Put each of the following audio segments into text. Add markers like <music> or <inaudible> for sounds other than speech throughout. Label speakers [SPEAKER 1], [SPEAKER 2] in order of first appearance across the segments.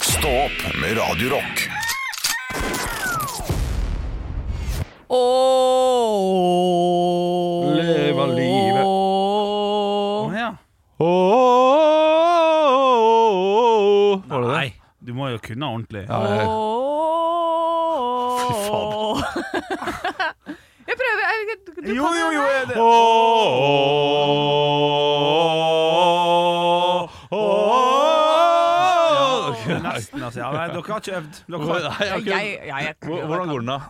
[SPEAKER 1] Stå opp med Radio Rock.
[SPEAKER 2] Ååå
[SPEAKER 3] Leve livet. Å, ja. Var det det?
[SPEAKER 4] Nei, du må jo kunne ordentlig.
[SPEAKER 3] Ja, jeg-
[SPEAKER 2] Fy
[SPEAKER 3] fader.
[SPEAKER 2] <laughs> Jeg prøver jeg, du kan
[SPEAKER 4] Jo, jo, jo. er det- Det er Nesten, altså. Ja, nei, dere har ikke øvd. Dere
[SPEAKER 3] Nei,
[SPEAKER 4] har...
[SPEAKER 3] jeg har
[SPEAKER 2] Jeg,
[SPEAKER 3] ikke-
[SPEAKER 2] jeg, jeg, jeg,
[SPEAKER 3] Hvor- Hvordan går den, da?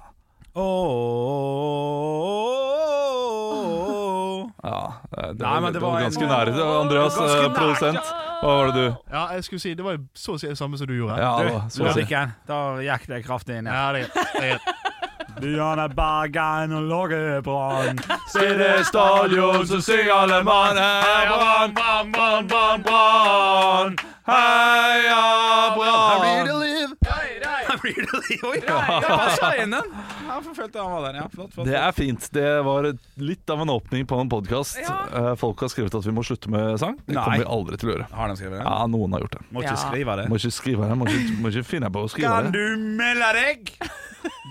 [SPEAKER 3] Ja, det, det,
[SPEAKER 4] Nei, men det
[SPEAKER 3] var
[SPEAKER 4] var en-
[SPEAKER 3] ganske nære. Det var Andreas,
[SPEAKER 4] Ganske
[SPEAKER 3] eh,
[SPEAKER 4] nært,
[SPEAKER 3] produsent. Hva var det du
[SPEAKER 5] Ja, jeg skulle si, Det var jo så å si det samme som du gjorde.
[SPEAKER 3] Ja, det
[SPEAKER 4] Du,
[SPEAKER 3] var, så å si.
[SPEAKER 4] musikken. Der gikk det kraftig inn.
[SPEAKER 5] Ja, det er det er greit.
[SPEAKER 4] Byene Bergen og Lågebrann.
[SPEAKER 3] Stille stadion, så syng alle mann. Heia Brann, Brann, Brann, Brann, Brann. Heia
[SPEAKER 5] Blir
[SPEAKER 3] Brann.
[SPEAKER 5] det liv?
[SPEAKER 4] Her blir det liv. Oi, det
[SPEAKER 3] <laughs>
[SPEAKER 4] passer inn den. Jeg forfølte han var der. Ja, flott, flott.
[SPEAKER 3] Det er fint. Det var litt av en åpning på en podkast. Folk har skrevet at vi må slutte med sang. Det
[SPEAKER 4] Nei.
[SPEAKER 3] kommer vi aldri til å gjøre.
[SPEAKER 4] Har de skrevet det?
[SPEAKER 3] Ja, noen har gjort det.
[SPEAKER 4] Må ikke
[SPEAKER 2] Ja.
[SPEAKER 4] skrive det.
[SPEAKER 3] Må ikke skrive det. Må ikke, må ikke finne på å skrive det.
[SPEAKER 4] Kan du melde deg? <laughs>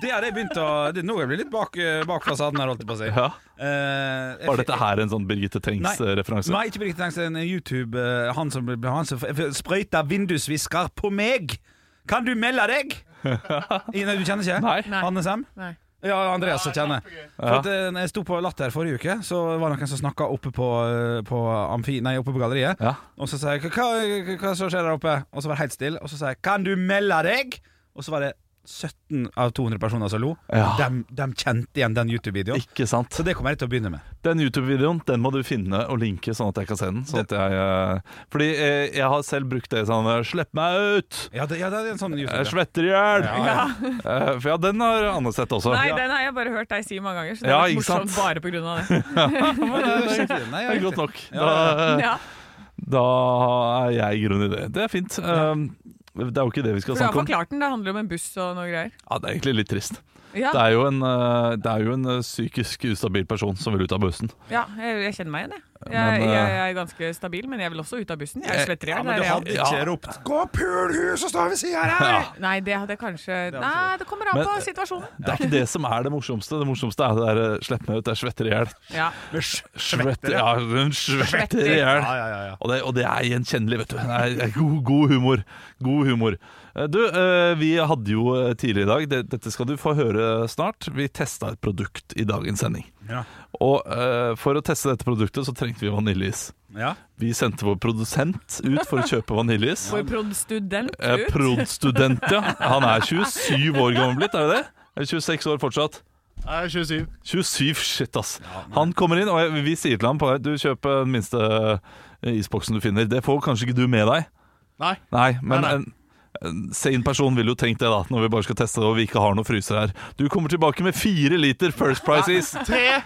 [SPEAKER 4] Det hadde jeg begynt å det, Nå er jeg blitt litt bak, eh, bak fasaden her, holdt jeg på å si.
[SPEAKER 3] Ja.
[SPEAKER 4] Eh, jeg-
[SPEAKER 3] Var dette her en sånn Birgitte Tengs-referanse?
[SPEAKER 4] Nei, ikke Birgitte Tengs, en YouTube eh, Han som, han som sprøyter vindusvisker på meg! Kan du melde deg?
[SPEAKER 3] <laughs>
[SPEAKER 4] Ina, du kjenner ikke?
[SPEAKER 3] Nei.
[SPEAKER 2] Nei.
[SPEAKER 4] Hanne Sem?
[SPEAKER 2] Nei.
[SPEAKER 4] Ja, Andreas jeg kjenner. For at, eh, når jeg sto på Latter forrige uke, så var det noen som snakka oppe på, eh, på, amfi, nei, oppe på galleriet.
[SPEAKER 3] Ja.
[SPEAKER 4] Og så sa jeg hva, hva, hva som skjer der oppe? Og så var det helt stille. Og så sa jeg 'Kan du melde deg?' Og så var det 17 av 200 personer som lo.
[SPEAKER 3] Ja.
[SPEAKER 4] De, kjente igjen den YouTube-videoen.
[SPEAKER 3] Ikke sant.
[SPEAKER 4] Så det kommer jeg til å begynne med.
[SPEAKER 3] Den YouTube-videoen den må du finne og linke, sånn at jeg kan se den. Sånn at jeg, eh, fordi eh, jeg har selv brukt det sånn eh, 'Slipp meg ut!
[SPEAKER 4] Ja, det, ja, det er en sånn YouTube
[SPEAKER 3] Jeg svetter i hjel!'
[SPEAKER 4] Ja, ja.
[SPEAKER 3] Eh, For ja, den har Anne sett også.
[SPEAKER 2] Nei, den har jeg bare hørt deg si mange ganger, så
[SPEAKER 3] Altså.
[SPEAKER 2] det
[SPEAKER 3] Ja,
[SPEAKER 2] er litt
[SPEAKER 3] ikke sant?
[SPEAKER 2] morsomt bare på grunn
[SPEAKER 3] <laughs>
[SPEAKER 2] av det.
[SPEAKER 4] Nei, det er riktig. Nei,
[SPEAKER 3] Det er
[SPEAKER 4] riktig.
[SPEAKER 3] Godt nok. Da,
[SPEAKER 4] Ja, ja,
[SPEAKER 2] Ja,
[SPEAKER 3] da er jeg i grunnen i det. Det er fint. Um, Det er jo ikke det vi skal
[SPEAKER 2] for du har
[SPEAKER 3] snakke om.
[SPEAKER 2] forklart den. Det handler om en buss og noe greier.
[SPEAKER 3] Ja, det er egentlig litt trist.
[SPEAKER 2] Ja,
[SPEAKER 3] Det er jo en, eh, det er jo en eh, psykisk ustabil person som vil ut av bussen.
[SPEAKER 2] ja jeg, jeg kjenner meg igjen, jeg.
[SPEAKER 3] Men,
[SPEAKER 2] Jeg,
[SPEAKER 3] eh,
[SPEAKER 2] jeg er ganske stabil, men jeg vil også ut av bussen. Jeg svetter i
[SPEAKER 4] Ja,
[SPEAKER 2] hjel. det
[SPEAKER 4] men du
[SPEAKER 2] er jeg.
[SPEAKER 4] hadde ikke ropt 'Gå pulhus og stå ved sida <laughs> her'!
[SPEAKER 3] Ja,
[SPEAKER 2] Nei, det hadde jeg kanskje
[SPEAKER 4] hadde
[SPEAKER 2] Nei, det kommer an
[SPEAKER 3] Men- eh,
[SPEAKER 2] på situasjonen.
[SPEAKER 3] det er ikke det som er det morsomste. Det morsomste er det der eh, 'slipp meg ut', jeg svetter i hjel.
[SPEAKER 2] Ja.
[SPEAKER 4] Med sj-
[SPEAKER 3] Svetter, ja, hun svetter i
[SPEAKER 2] Svetter.
[SPEAKER 3] hjel.
[SPEAKER 4] Ja, ja, ja, ja.
[SPEAKER 3] Og det, og det er gjenkjennelig, vet du. Det er, det er god, god humor. God humor. Eh, Du, eh, vi hadde jo eh, tidligere i dag det, Dette skal du få høre snart. Vi testa et produkt i dagens sending.
[SPEAKER 4] Ja.
[SPEAKER 3] Og eh, for å teste dette produktet, så trengte vi vaniljeis.
[SPEAKER 4] Ja.
[SPEAKER 3] Vi sendte vår produsent ut for å kjøpe vaniljeis.
[SPEAKER 2] Får prod.student
[SPEAKER 3] Eh,
[SPEAKER 2] ut.
[SPEAKER 3] Prod.student, ja. Han er 27 år gammel blitt, er det det? Eller 26 år fortsatt?
[SPEAKER 5] Jeg er 27.
[SPEAKER 3] 27, shit ass Han kommer inn, og jeg- vi sier til ham på vei, Du kjøper den minste eh, isboksen du finner Det får kanskje ikke du med deg
[SPEAKER 5] Nei.
[SPEAKER 3] Nei, men
[SPEAKER 5] Nei, nei.
[SPEAKER 3] en, en sane person vil jo tenkt det da Når vi bare skal teste det og vi ikke har noen fryser her Du kommer tilbake med 4 liter First Price is
[SPEAKER 5] Tre.
[SPEAKER 3] 3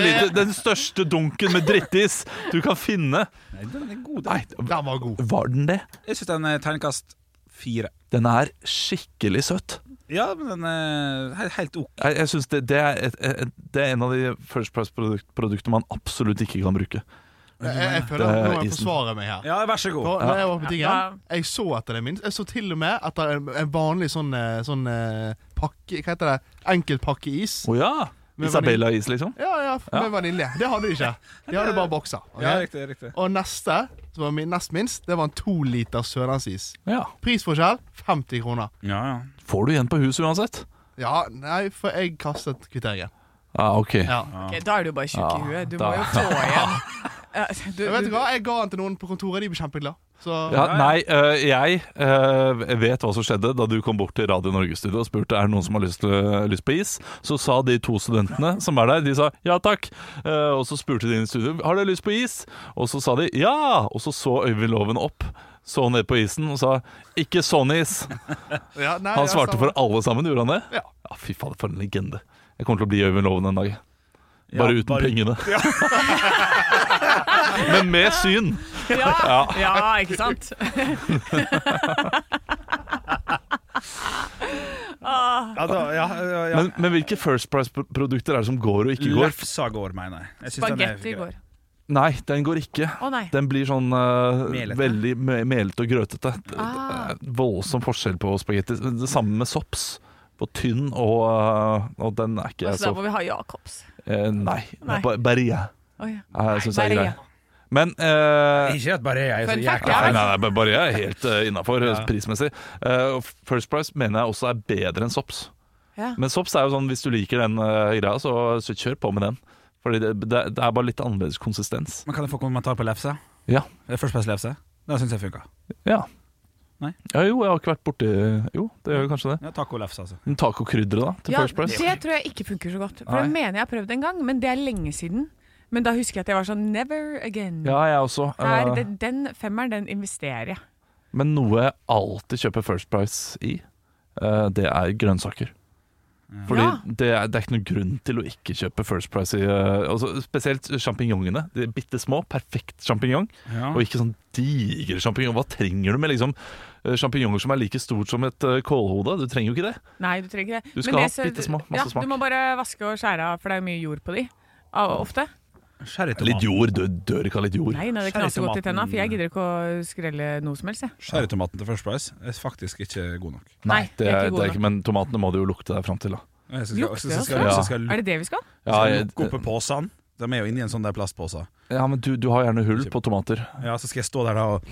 [SPEAKER 3] liter, den største dunken med drittis Du kan finne
[SPEAKER 4] Nei, den er god. den.
[SPEAKER 3] Nei,
[SPEAKER 5] Den var god.
[SPEAKER 3] var den det?
[SPEAKER 4] Jeg syns den er terningkast fire.
[SPEAKER 3] Den er skikkelig søtt
[SPEAKER 4] Ja, men den er he- helt ok.
[SPEAKER 3] Jeg, jeg synes det, det, er et, et, det er en av de First Price produkt, produktene man absolutt ikke kan bruke
[SPEAKER 5] Jeg, jeg føler at nå må jeg
[SPEAKER 3] isen.
[SPEAKER 5] forsvare meg her.
[SPEAKER 4] Ja, vær så
[SPEAKER 5] Nå,
[SPEAKER 4] god.
[SPEAKER 5] når jeg var på
[SPEAKER 2] Ja.
[SPEAKER 5] tingen, jeg så etter det minst. Jeg så til og med etter en, en vanlig sånn, eh, sånn eh, pakke Hva heter det? Enkeltpakke is.
[SPEAKER 3] Åja,
[SPEAKER 5] Men
[SPEAKER 3] Isabella is liksom
[SPEAKER 5] Ja, ja, med vanilje. Det hadde de ikke. De hadde bare bokser. ok?
[SPEAKER 4] Ja, riktig, riktig.
[SPEAKER 5] Og neste, som var min, nest minst, det var en to liter sørlandsis.
[SPEAKER 3] Ja
[SPEAKER 5] Prisforskjell 50 kroner.
[SPEAKER 4] Ja, ja.
[SPEAKER 3] Får du igjen på huset uansett?
[SPEAKER 5] Ja, nei, for jeg kastet kvitteringen.
[SPEAKER 3] Ah, ok.
[SPEAKER 5] Ja.
[SPEAKER 2] Ok, da er du bare tjukk i
[SPEAKER 3] Ja,
[SPEAKER 2] huet. Du
[SPEAKER 3] da-
[SPEAKER 2] må jo få
[SPEAKER 3] <laughs>
[SPEAKER 2] igjen Ja, du,
[SPEAKER 5] Jeg vet du
[SPEAKER 2] du,
[SPEAKER 5] hva, jeg ga den til noen på kontoret, de ble kjempeglade. Så
[SPEAKER 3] Ja, nei, øh, jeg øh, vet hva som skjedde da du kom bort til Radio Norge-studio og spurte er det noen som har lyst, øh, lyst på is. Så sa de to studentene som er der, de sa ja takk. Eh, og så spurte de inn i studio har dere lyst på is. Og så sa de ja. Og så så Øyvind Loven opp, så ned på isen og sa ikke sånn is.
[SPEAKER 5] Ja, nei, altså,
[SPEAKER 3] Han
[SPEAKER 5] ja,
[SPEAKER 3] svarte
[SPEAKER 5] samme.
[SPEAKER 3] for alle sammen, gjorde han det?
[SPEAKER 5] Ja.
[SPEAKER 3] Fy fader, for en legende. Jeg kommer til å bli Øyvind Loven en dag. Bare
[SPEAKER 4] Ja,
[SPEAKER 3] uten pengene. <laughs> Men med syn.
[SPEAKER 2] ja, ja, ikke sant?
[SPEAKER 4] Ja, da, ja, ja, ja.
[SPEAKER 3] Men, men hvilke First Price-produkter er det som går og ikke går?
[SPEAKER 4] Lefsa går, mener jeg. jeg synes den er-
[SPEAKER 2] Baguette i går.
[SPEAKER 3] Nei, den går ikke.
[SPEAKER 2] Å nei.
[SPEAKER 3] Den blir sånn eh,
[SPEAKER 4] Melete.
[SPEAKER 3] veldig me- melete og grøtete. Det- det
[SPEAKER 2] Ah.
[SPEAKER 3] er Voldsom forskjell på spagetti. Det samme med sops. På tynn og eh, Og den er ikke
[SPEAKER 2] Altså
[SPEAKER 3] så
[SPEAKER 2] der hvor vi har Jacobs.
[SPEAKER 3] eh, Nei.
[SPEAKER 2] Nei.
[SPEAKER 3] Ba- Berria
[SPEAKER 2] Oi, ja.
[SPEAKER 3] eh, syns jeg er
[SPEAKER 2] Berria.
[SPEAKER 3] grei. Men eh,
[SPEAKER 4] Ikke at bare jeg er så
[SPEAKER 2] Fun fact,
[SPEAKER 4] jækla
[SPEAKER 3] Nei,
[SPEAKER 2] ja.
[SPEAKER 4] feil.
[SPEAKER 3] nei, nei, bare jeg er helt uh, innafor prismessig. Eh, og First Price mener jeg også er bedre enn Sops.
[SPEAKER 2] Ja.
[SPEAKER 3] Men Sops er jo sånn, hvis du liker den eh, greia, så, så kjør på med den. Fordi det, det, det er bare litt annerledes konsistens.
[SPEAKER 4] Men Kan jeg få kommentar på lefse?
[SPEAKER 3] Ja.
[SPEAKER 4] Eh, First Price lefse? Den syns jeg funka.
[SPEAKER 3] Ja.
[SPEAKER 4] Nei.
[SPEAKER 3] Ja, jo, jeg har ikke vært borti Jo, det gjør jo kanskje det.
[SPEAKER 4] Ja, Tacolefse, altså.
[SPEAKER 3] Men Tacokrydderet, da, til
[SPEAKER 2] Ja,
[SPEAKER 3] First Price?
[SPEAKER 2] Det tror jeg ikke funker så godt. For
[SPEAKER 3] Nei.
[SPEAKER 2] det mener jeg har prøvd en gang, men det er lenge siden. Men da husker jeg at jeg var sånn never again.
[SPEAKER 3] Ja, jeg også. eh,
[SPEAKER 2] Her, den, den femmeren, den investerer jeg.
[SPEAKER 3] Men noe jeg alltid kjøper First Price i, eh, det er grønnsaker. Fordi
[SPEAKER 2] Ja.
[SPEAKER 3] det, er, det er ikke noen grunn til å ikke kjøpe First Price i eh, altså, Spesielt sjampinjongene. De er bitte små, perfekt sjampinjong.
[SPEAKER 4] Ja.
[SPEAKER 3] Og ikke sånn digre sjampinjong. Hva trenger du med liksom eh, sjampinjonger som er like stort som et eh, kålhode? Du trenger jo ikke det.
[SPEAKER 2] Nei, du trenger ikke det.
[SPEAKER 3] Du
[SPEAKER 2] Men
[SPEAKER 3] skal
[SPEAKER 2] det
[SPEAKER 3] ha
[SPEAKER 2] så-
[SPEAKER 3] bittesmå, masse
[SPEAKER 2] ja,
[SPEAKER 3] smak.
[SPEAKER 2] Du må bare vaske og skjære av, for det er jo mye jord på de. Av- Ofte.
[SPEAKER 3] Litt
[SPEAKER 4] Sherrytomat.
[SPEAKER 3] jord. Du dør ikke av litt jord.
[SPEAKER 2] Nei, nei, det knaser godt i tenna, for jeg gidder ikke å skrelle noe som helst, jeg.
[SPEAKER 4] Sherrytomaten til First Price er faktisk ikke god nok.
[SPEAKER 2] Nei,
[SPEAKER 3] det er, det
[SPEAKER 2] god
[SPEAKER 3] er ikke, men tomatene må du jo lukte deg fram til, da.
[SPEAKER 4] Jeg synes
[SPEAKER 2] Lukter
[SPEAKER 4] jeg synes jeg skal,
[SPEAKER 3] også?
[SPEAKER 4] jeg synes jeg skal,
[SPEAKER 2] nok. Er det det vi skal?
[SPEAKER 3] Ja,
[SPEAKER 4] skal lukke
[SPEAKER 3] jeg,
[SPEAKER 4] opp posen. De er jo inni en sånn der plastpose.
[SPEAKER 3] ja men du, du har gjerne hull på tomater.
[SPEAKER 4] Ja, så skal jeg stå der da og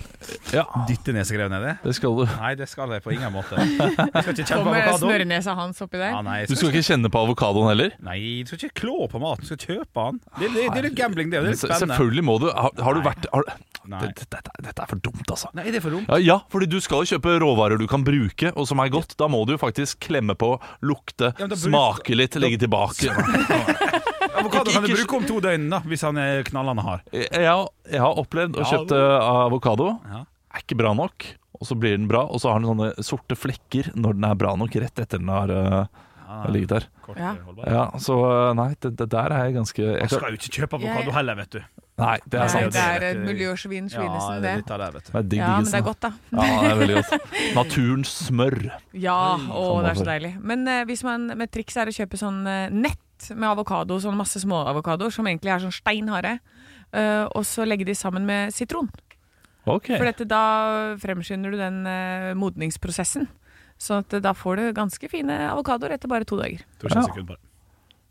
[SPEAKER 3] Ja,
[SPEAKER 4] dytte nesegrevet nedi?
[SPEAKER 3] det skal du.
[SPEAKER 4] Nei, det skal jeg på ingen måte. Jeg skal ikke kjenne på
[SPEAKER 2] Kommer
[SPEAKER 4] avokadoen.
[SPEAKER 2] snørrenesa hans oppi
[SPEAKER 4] Ja,
[SPEAKER 2] der?
[SPEAKER 4] nei, jeg
[SPEAKER 3] Du skal
[SPEAKER 4] skal ikke
[SPEAKER 3] ikke kjenne på avokadoen heller?
[SPEAKER 4] Nei, du skal ikke klå på maten, du skal kjøpe den. Det, det, det er litt gambling, det. og Det
[SPEAKER 3] Men
[SPEAKER 4] er
[SPEAKER 3] se-
[SPEAKER 4] litt spennende.
[SPEAKER 3] selvfølgelig må du Har, har du vært har,
[SPEAKER 4] Nei.
[SPEAKER 3] dette, dette, dette er for dumt, altså.
[SPEAKER 4] Nei, er det for dumt?
[SPEAKER 3] Ja, ja, fordi du skal jo kjøpe råvarer du kan bruke, og som er godt. Da må du jo faktisk klemme på, lukte,
[SPEAKER 4] Ja, men da bruk-
[SPEAKER 3] smake litt, legge tilbake.
[SPEAKER 4] Avokado kan du
[SPEAKER 3] Ikke- ikke-
[SPEAKER 4] bruke om to døgn, da, hvis han er knallende hard.
[SPEAKER 3] <laughs> Jeg, jeg har- jeg har opplevd å
[SPEAKER 4] Ja.
[SPEAKER 3] kjøpe avokado.
[SPEAKER 4] Ja.
[SPEAKER 3] Er ikke bra nok, og så blir den bra. Og så har den sånne sorte flekker når den er bra nok, rett etter den har eh, har ligget der.
[SPEAKER 4] Kort,
[SPEAKER 2] Ja.
[SPEAKER 4] holdbar.
[SPEAKER 3] Ja, så eh, nei, det, det der er jeg ganske jeg
[SPEAKER 4] Man
[SPEAKER 3] kan,
[SPEAKER 4] skal jo ikke kjøpe avokado heller, vet du.
[SPEAKER 3] Nei, det
[SPEAKER 2] Nei,
[SPEAKER 3] er sant.
[SPEAKER 2] det er et
[SPEAKER 4] Det-
[SPEAKER 2] miljøsvin, Svinesen,
[SPEAKER 4] det
[SPEAKER 2] det.
[SPEAKER 4] er litt av det, vet du.
[SPEAKER 3] Det er digg liksom. i
[SPEAKER 2] Ja, men det er
[SPEAKER 3] isen, da.
[SPEAKER 2] godt, da.
[SPEAKER 3] Ja, det er veldig
[SPEAKER 2] <laughs>
[SPEAKER 3] godt. Naturens smør.
[SPEAKER 2] Ja, å,
[SPEAKER 3] Sånn
[SPEAKER 2] det er så
[SPEAKER 3] derfor.
[SPEAKER 2] deilig. Men eh, hvis man med triks er å kjøpe sånn eh, nett med avokado, sånn masse småavokadoer som egentlig er sånn steinharde, eh, og så legge de sammen med sitron.
[SPEAKER 3] Ok.
[SPEAKER 2] For dette, da fremskynder du den eh, modningsprosessen. Sånn at eh, da får du ganske fine avokadoer etter bare to dager.
[SPEAKER 4] Tror ikke en sekund på det.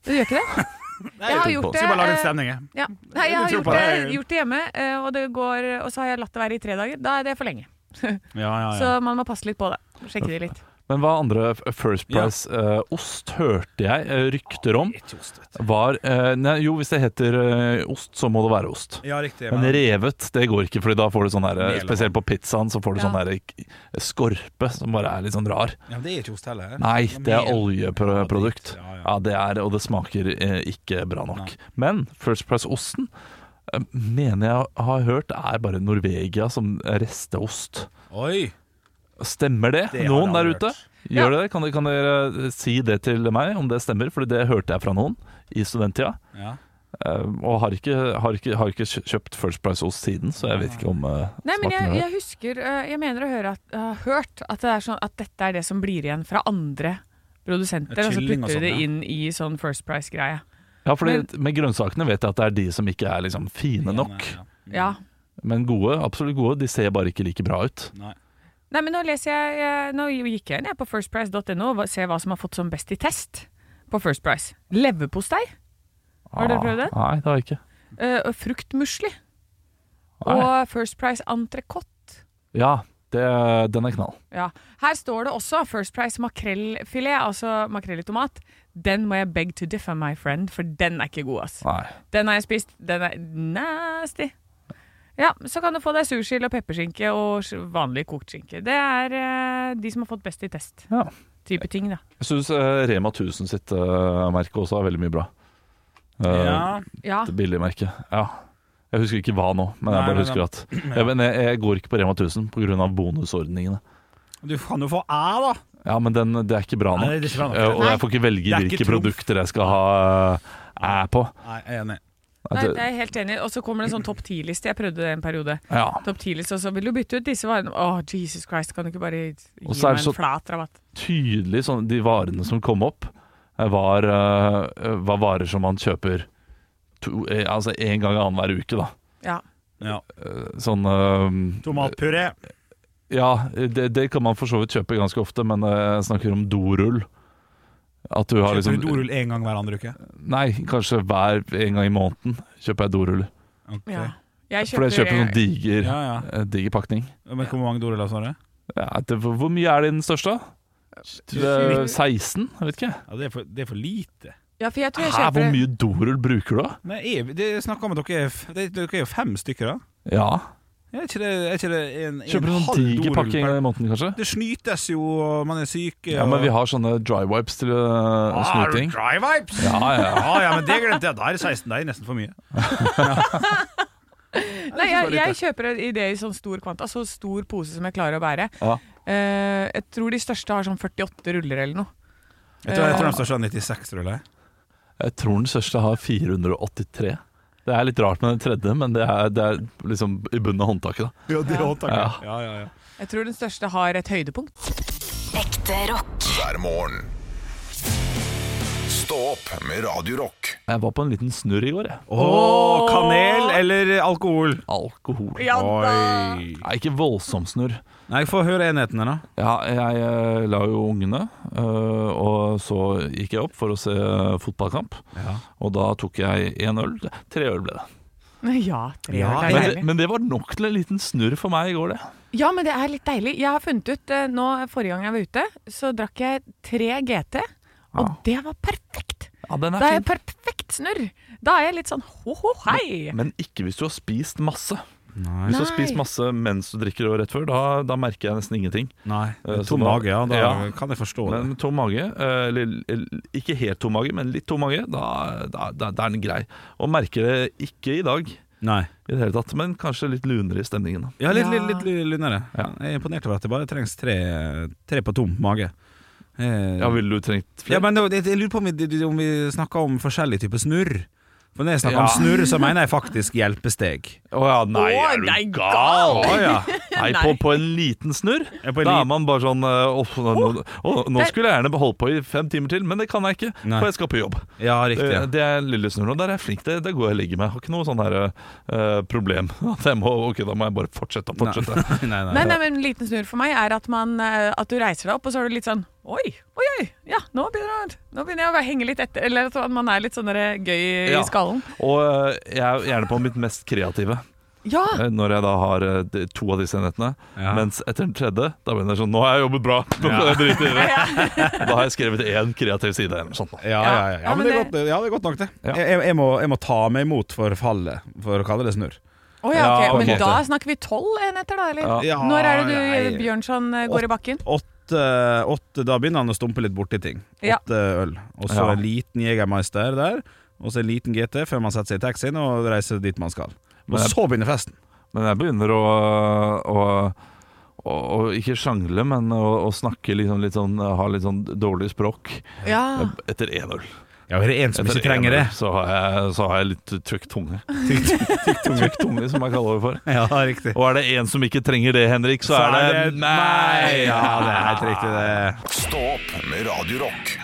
[SPEAKER 2] Du gjør ikke
[SPEAKER 4] <laughs>
[SPEAKER 2] det? Jeg har gjort det.
[SPEAKER 4] Skal bare lage en
[SPEAKER 2] eh,
[SPEAKER 4] stemning, jeg.
[SPEAKER 2] ja. Nei, jeg har
[SPEAKER 4] Jeg tror
[SPEAKER 2] gjort
[SPEAKER 4] på
[SPEAKER 2] det,
[SPEAKER 4] deg.
[SPEAKER 2] gjort det hjemme, eh, og, det går, og så har jeg latt det være i tre dager. Da er det for lenge.
[SPEAKER 4] Ja, ja, ja.
[SPEAKER 2] Så man må passe litt på det. Sjekke det litt.
[SPEAKER 3] Men hva andre f- First
[SPEAKER 4] Ja.
[SPEAKER 3] Price-ost hørte jeg eh, rykter om
[SPEAKER 4] Ikke ost, vet du.
[SPEAKER 3] var eh, nei, Jo, hvis det heter eh, ost, så må det være ost.
[SPEAKER 4] Ja, riktig.
[SPEAKER 3] Men revet, det går ikke, Fordi da får du sånn her eh,
[SPEAKER 4] Mel.
[SPEAKER 3] Spesielt på pizzaen så får du
[SPEAKER 2] Ja.
[SPEAKER 3] sånn her eh, skorpe som bare er litt sånn rar.
[SPEAKER 4] Ja, men det er ikke ost heller.
[SPEAKER 3] Nei,
[SPEAKER 4] Ja,
[SPEAKER 3] det er
[SPEAKER 4] mel.
[SPEAKER 3] oljeprodukt.
[SPEAKER 4] Ja, ja.
[SPEAKER 3] Ja, det er Og det smaker eh, ikke bra nok.
[SPEAKER 4] Nei.
[SPEAKER 3] Men First Price-osten eh, mener jeg har hørt er bare Norvegia som resteost.
[SPEAKER 4] Oi!
[SPEAKER 3] Stemmer det?
[SPEAKER 4] Det har
[SPEAKER 3] noen der
[SPEAKER 4] jeg
[SPEAKER 3] ute?
[SPEAKER 4] hørt.
[SPEAKER 3] Gjør det? Kan, dere- kan dere eh, si det til meg, om det stemmer? For det hørte jeg fra noen i studenttida.
[SPEAKER 4] Ja.
[SPEAKER 3] eh, Og har ikke, har ikke, har ikke kjø- kjøpt First Price-ost siden, så jeg vet ikke om eh,
[SPEAKER 2] Nei, men
[SPEAKER 3] smaken
[SPEAKER 2] jeg,
[SPEAKER 3] er der.
[SPEAKER 2] jeg husker eh, Jeg mener å høre at, jeg har hørt at, det er sånn, at dette er det som blir igjen fra andre produsenter,
[SPEAKER 4] Ja,
[SPEAKER 2] og så
[SPEAKER 4] kylling og
[SPEAKER 2] putter de det inn
[SPEAKER 4] sånn, ja.
[SPEAKER 2] i sånn First Price-greie.
[SPEAKER 3] Ja, fordi Med grønnsakene vet jeg at det er de som ikke er liksom fine nok.
[SPEAKER 4] Ja,
[SPEAKER 2] Ja.
[SPEAKER 3] Men gode, absolutt gode. De ser bare ikke like bra ut.
[SPEAKER 4] Nei.
[SPEAKER 2] Nei, men nå leser jeg eh, Nå gikk jeg inn jeg på firstprice.no og ser hva som har fått som best i test på First Price. Leverpostei Har dere
[SPEAKER 3] Ah,
[SPEAKER 2] prøvd det?
[SPEAKER 3] Nei, det har jeg ikke.
[SPEAKER 2] eh, og fruktmusli.
[SPEAKER 3] Nei.
[SPEAKER 2] Og First Price entrecôte.
[SPEAKER 3] Ja, det, den er knall.
[SPEAKER 2] Ja. Her står det også First Price makrellfilet, altså makrell i tomat. Den må jeg beg to differ, my friend, for den er ikke god, ass.
[SPEAKER 3] Nei.
[SPEAKER 2] Den har jeg spist. Den er nasty. Ja, så kan du få deg sursild og pepperskinke og s- vanlig kokt skinke. Det er eh, de som har fått best i test.
[SPEAKER 3] Ja.
[SPEAKER 2] Type ting, da.
[SPEAKER 3] Jeg syns Rema 1000 sitt eh, merke også er veldig mye bra. Eh,
[SPEAKER 4] Ja.
[SPEAKER 2] Ja.
[SPEAKER 3] Det billige merket. Ja. Jeg husker ikke hva nå, men
[SPEAKER 4] Nei,
[SPEAKER 3] jeg bare
[SPEAKER 4] men-
[SPEAKER 3] husker at jeg, men jeg, jeg går ikke på Rema 1000 pga. bonusordningene.
[SPEAKER 4] Du kan jo få æ, da.
[SPEAKER 3] Ja, men den, det er ikke bra nok.
[SPEAKER 4] Nei, det er ikke bra nok.
[SPEAKER 3] Eh, Og
[SPEAKER 4] Nei.
[SPEAKER 3] jeg får ikke
[SPEAKER 4] Det
[SPEAKER 3] velge
[SPEAKER 4] er ikke
[SPEAKER 3] hvilke
[SPEAKER 4] trumf.
[SPEAKER 3] produkter jeg skal ha æ på.
[SPEAKER 4] Nei, jeg er enig.
[SPEAKER 2] Nei,
[SPEAKER 3] At,
[SPEAKER 2] det er jeg helt enig i. Og så kommer det en sånn topp ti-liste. Jeg prøvde det en periode.
[SPEAKER 3] ja.
[SPEAKER 2] Topp 10-liste, Og så vil du bytte ut disse varene. Åh, Jesus Christ, kan du ikke bare gi
[SPEAKER 3] Og så er
[SPEAKER 2] meg
[SPEAKER 3] det så-
[SPEAKER 2] en flat rabatt?
[SPEAKER 3] Tydelig sånn eh, De varene som kom opp, eh, var, eh, var varer som man kjøper to, eh, altså en gang annenhver uke, da.
[SPEAKER 2] Ja.
[SPEAKER 4] Ja.
[SPEAKER 3] Eh, Sånn eh,
[SPEAKER 4] Tomatpuré.
[SPEAKER 3] Ja, det, det kan man for så vidt kjøpe ganske ofte, men eh, jeg snakker om dorull. At du har
[SPEAKER 4] Kjøper
[SPEAKER 3] liksom
[SPEAKER 4] du dorull én gang hver andre uke?
[SPEAKER 3] Nei, kanskje hver en gang i måneden kjøper jeg dorull.
[SPEAKER 4] Ok.
[SPEAKER 2] ja. Jeg
[SPEAKER 3] For jeg kjøper sånn diger,
[SPEAKER 4] Ja, ja.
[SPEAKER 3] eh, diger pakning.
[SPEAKER 4] Men hvor mange doruller har du?
[SPEAKER 3] Ja, det, hvor hvor mye er det i den største? Det er 16? Jeg vet ikke.
[SPEAKER 4] Ja, det, er for, det er for lite.
[SPEAKER 2] Ja, for jeg tror jeg
[SPEAKER 3] Hæ, hvor
[SPEAKER 2] kjøper
[SPEAKER 3] mye dorull bruker du, da?
[SPEAKER 4] Nei, jeg, det jeg snakker om at dere er, f- det, dere er jo fem stykker, da.
[SPEAKER 3] Ja.
[SPEAKER 4] Er ikke det, er ikke det en, en
[SPEAKER 3] Kjøper du sånn
[SPEAKER 4] halv
[SPEAKER 3] diger
[SPEAKER 4] dorull
[SPEAKER 3] pakke en
[SPEAKER 4] per-
[SPEAKER 3] gang i måneden, kanskje?
[SPEAKER 4] Det snytes jo, og man er syk.
[SPEAKER 3] Ja, men vi har sånne dry wipes til uh, snyting.
[SPEAKER 4] Ah, Dry vibes!
[SPEAKER 3] Ja, ja.
[SPEAKER 4] Ja, ja, men det glemte jeg. Da er det 16. Det er nesten for mye.
[SPEAKER 2] Nei, jeg, jeg kjøper i det i sånn stor kvanta. Så stor pose som jeg klarer å bære.
[SPEAKER 3] Ja.
[SPEAKER 2] Eh, jeg tror de største har sånn 48 ruller eller noe.
[SPEAKER 4] Jeg tror, jeg tror de står sånn 96, ruller.
[SPEAKER 3] Jeg tror den største har 483. Det er litt rart med den tredje, men det er, det er liksom i bunnen av håndtaket. da.
[SPEAKER 5] Ja, det
[SPEAKER 2] Ja.
[SPEAKER 5] håndtaket.
[SPEAKER 3] Ja.
[SPEAKER 4] Ja, ja, ja.
[SPEAKER 2] Jeg tror den største har et høydepunkt.
[SPEAKER 6] Ekte rock.
[SPEAKER 1] hver morgen. Stå opp med Radio Rock.
[SPEAKER 3] Jeg var på en liten snurr i går, jeg.
[SPEAKER 4] Åh, kanel eller alkohol?
[SPEAKER 3] Alkohol.
[SPEAKER 2] Ja da!
[SPEAKER 4] Oi.
[SPEAKER 3] Nei, ikke voldsom snurr.
[SPEAKER 4] Nei, få høre enhetene, da.
[SPEAKER 3] Ja, jeg eh, la jo ungene, eh, og så gikk jeg opp for å se fotballkamp. Og da tok jeg én øl. Tre øl ble det.
[SPEAKER 2] Ja, tre
[SPEAKER 4] Ja,
[SPEAKER 2] år, det er
[SPEAKER 3] Men,
[SPEAKER 2] deilig.
[SPEAKER 3] det. men det var nok til en liten snurr for meg i går, det.
[SPEAKER 2] Ja, men det er litt deilig. Jeg har funnet ut eh, nå, Forrige gang jeg var ute, så drakk jeg tre GT, og det var perfekt!
[SPEAKER 3] Ja, den
[SPEAKER 2] Da er jeg perfekt snurr! Da er jeg litt sånn ho-ho, hei!
[SPEAKER 3] Men ikke hvis du har spist masse.
[SPEAKER 4] Nei.
[SPEAKER 3] Hvis du har
[SPEAKER 2] Nei.
[SPEAKER 3] spist masse mens du drikker og rett før, da, da merker jeg nesten ingenting.
[SPEAKER 4] Nei.
[SPEAKER 3] Eh, så
[SPEAKER 4] Tom
[SPEAKER 3] da-
[SPEAKER 4] mage, ja. Da
[SPEAKER 3] Ja.
[SPEAKER 4] kan jeg forstå det.
[SPEAKER 3] Men tom mage, eh, eller eller ikke helt tom mage, men litt tom mage, da, da, da, da er den grei. Og merker det ikke i dag i
[SPEAKER 4] Nei.
[SPEAKER 3] det hele tatt, men kanskje litt lunere i stemningen. da.
[SPEAKER 4] Ja, litt,
[SPEAKER 2] Ja.
[SPEAKER 4] litt, litt, lunnere.
[SPEAKER 3] Ja.
[SPEAKER 4] Jeg er imponert over at det bare trengs tre, tre på tom mage. Eh,
[SPEAKER 3] Ja, ville du trengt
[SPEAKER 4] ja,
[SPEAKER 3] flere?
[SPEAKER 4] men det- jeg lurer på om vi, om vi snakker om forskjellige typer snurr. For når jeg snakker
[SPEAKER 3] Ja.
[SPEAKER 4] om snurr, så mener jeg faktisk hjelpesteg.
[SPEAKER 3] Å ja, nei,
[SPEAKER 2] Å,
[SPEAKER 3] er
[SPEAKER 2] nei,
[SPEAKER 3] du gal?
[SPEAKER 4] Å <laughs> ja.
[SPEAKER 3] Nei,
[SPEAKER 2] Nei.
[SPEAKER 3] på, på en liten snurr?
[SPEAKER 4] Ja, på en
[SPEAKER 3] da
[SPEAKER 4] lit-
[SPEAKER 3] er man bare sånn eh, Åh, nå, nå, åh, nå
[SPEAKER 2] Det-
[SPEAKER 3] skulle jeg gjerne holdt på i fem timer til, men det kan jeg ikke,
[SPEAKER 4] Nei.
[SPEAKER 3] for jeg skal på jobb.
[SPEAKER 4] ja, riktig.
[SPEAKER 3] Eh,
[SPEAKER 4] Ja.
[SPEAKER 3] Det er lille snurr, og der er jeg flink. Det, det går jeg og legger meg. Jeg har ikke noe sånn her eh, problem. <laughs> At jeg må, ok, da må jeg bare fortsette og fortsette.
[SPEAKER 4] nei, <laughs> nei.
[SPEAKER 2] Nei, nei, men eh, En liten snurr for meg er at, man, eh, at du reiser deg opp, og så er du litt sånn Oi, oi, oi! Ja, nå begynner, jeg- nå begynner jeg å være- henge litt etter. Eller at man er litt sånn der gøy
[SPEAKER 3] Ja.
[SPEAKER 2] i skallen.
[SPEAKER 3] Og eh, jeg er gjerne på mitt mest kreative
[SPEAKER 2] Ja!
[SPEAKER 3] eh, når jeg da har eh, de- to av disse enhetene.
[SPEAKER 4] Ja.
[SPEAKER 3] Mens etter den tredje, da begynner jeg sånn Nå har jeg jobbet bra! <laughs> Nå kan jeg drite i
[SPEAKER 4] <laughs>
[SPEAKER 3] det. Da har jeg skrevet én kreativ side eller noe sånt. nå.
[SPEAKER 4] Ja, ja, ja. ja, men det er
[SPEAKER 2] Ja, men
[SPEAKER 4] godt, ja, det er godt nok, det.
[SPEAKER 3] Ja.
[SPEAKER 4] Jeg, jeg, må, jeg må ta meg imot for fallet, for å kalle det snurr.
[SPEAKER 2] Å ja,
[SPEAKER 3] Ja, på
[SPEAKER 2] ok.
[SPEAKER 3] en
[SPEAKER 2] Men
[SPEAKER 3] måte.
[SPEAKER 2] da snakker vi tolv enheter, da? eller?
[SPEAKER 3] Ja.
[SPEAKER 4] Ja,
[SPEAKER 2] Når er det du,
[SPEAKER 4] nei.
[SPEAKER 2] Bjørnson, eh, går i bakken?
[SPEAKER 4] Åtte, åtte, da begynner han å stumpe litt borti ting.
[SPEAKER 2] Ja.
[SPEAKER 4] Åtte øl. Og så
[SPEAKER 3] Ja.
[SPEAKER 4] en liten Jegermeister der, og så en liten GT før man setter seg i taxien og reiser dit man skal. Og
[SPEAKER 3] Men jeg-
[SPEAKER 4] så begynner festen.
[SPEAKER 3] Men jeg begynner å, å, å, å ikke sjangle, men å, å snakke liksom litt sånn Ha litt sånn dårlig språk
[SPEAKER 2] Ja.
[SPEAKER 3] etter én øl.
[SPEAKER 4] Ja, er det en Ah. som
[SPEAKER 3] Etter
[SPEAKER 4] ikke trenger det?
[SPEAKER 3] en øl Så har jeg, så har jeg litt tykk
[SPEAKER 4] <laughs>
[SPEAKER 3] tunge.
[SPEAKER 4] Tykk tunge.
[SPEAKER 3] Tykk tunge, som jeg kaller det for.
[SPEAKER 4] Ja, riktig.
[SPEAKER 3] Og er det én som ikke trenger det, Henrik, så, er det, meg!
[SPEAKER 4] Ja, det er helt riktig, det.
[SPEAKER 1] Stå opp med Radio Rock.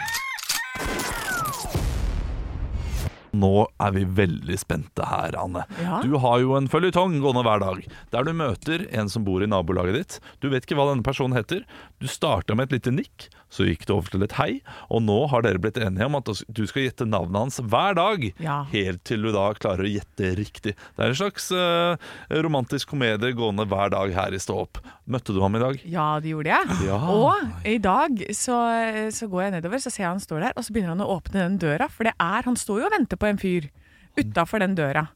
[SPEAKER 3] Nå er vi veldig spente her, Anne.
[SPEAKER 2] Ja.
[SPEAKER 3] Du har jo en føljetong gående hver dag, der du møter en som bor i nabolaget ditt. Du vet ikke hva denne personen heter. Du starta med et lite nikk, så gikk det over til et hei, og nå har dere blitt enige om at altså, du skal gjette navnet hans hver dag.
[SPEAKER 2] Ja.
[SPEAKER 3] Helt til du da klarer å gjette riktig. Det er en slags eh, romantisk komedie gående hver dag her i Stå opp. Møtte du ham i dag?
[SPEAKER 2] Ja, det gjorde jeg.
[SPEAKER 3] Ja.
[SPEAKER 2] Og i dag så, så går jeg nedover, så ser jeg han står der, og så begynner han å åpne den døra. For det er, han står jo og venter på en fyr utafor den døra.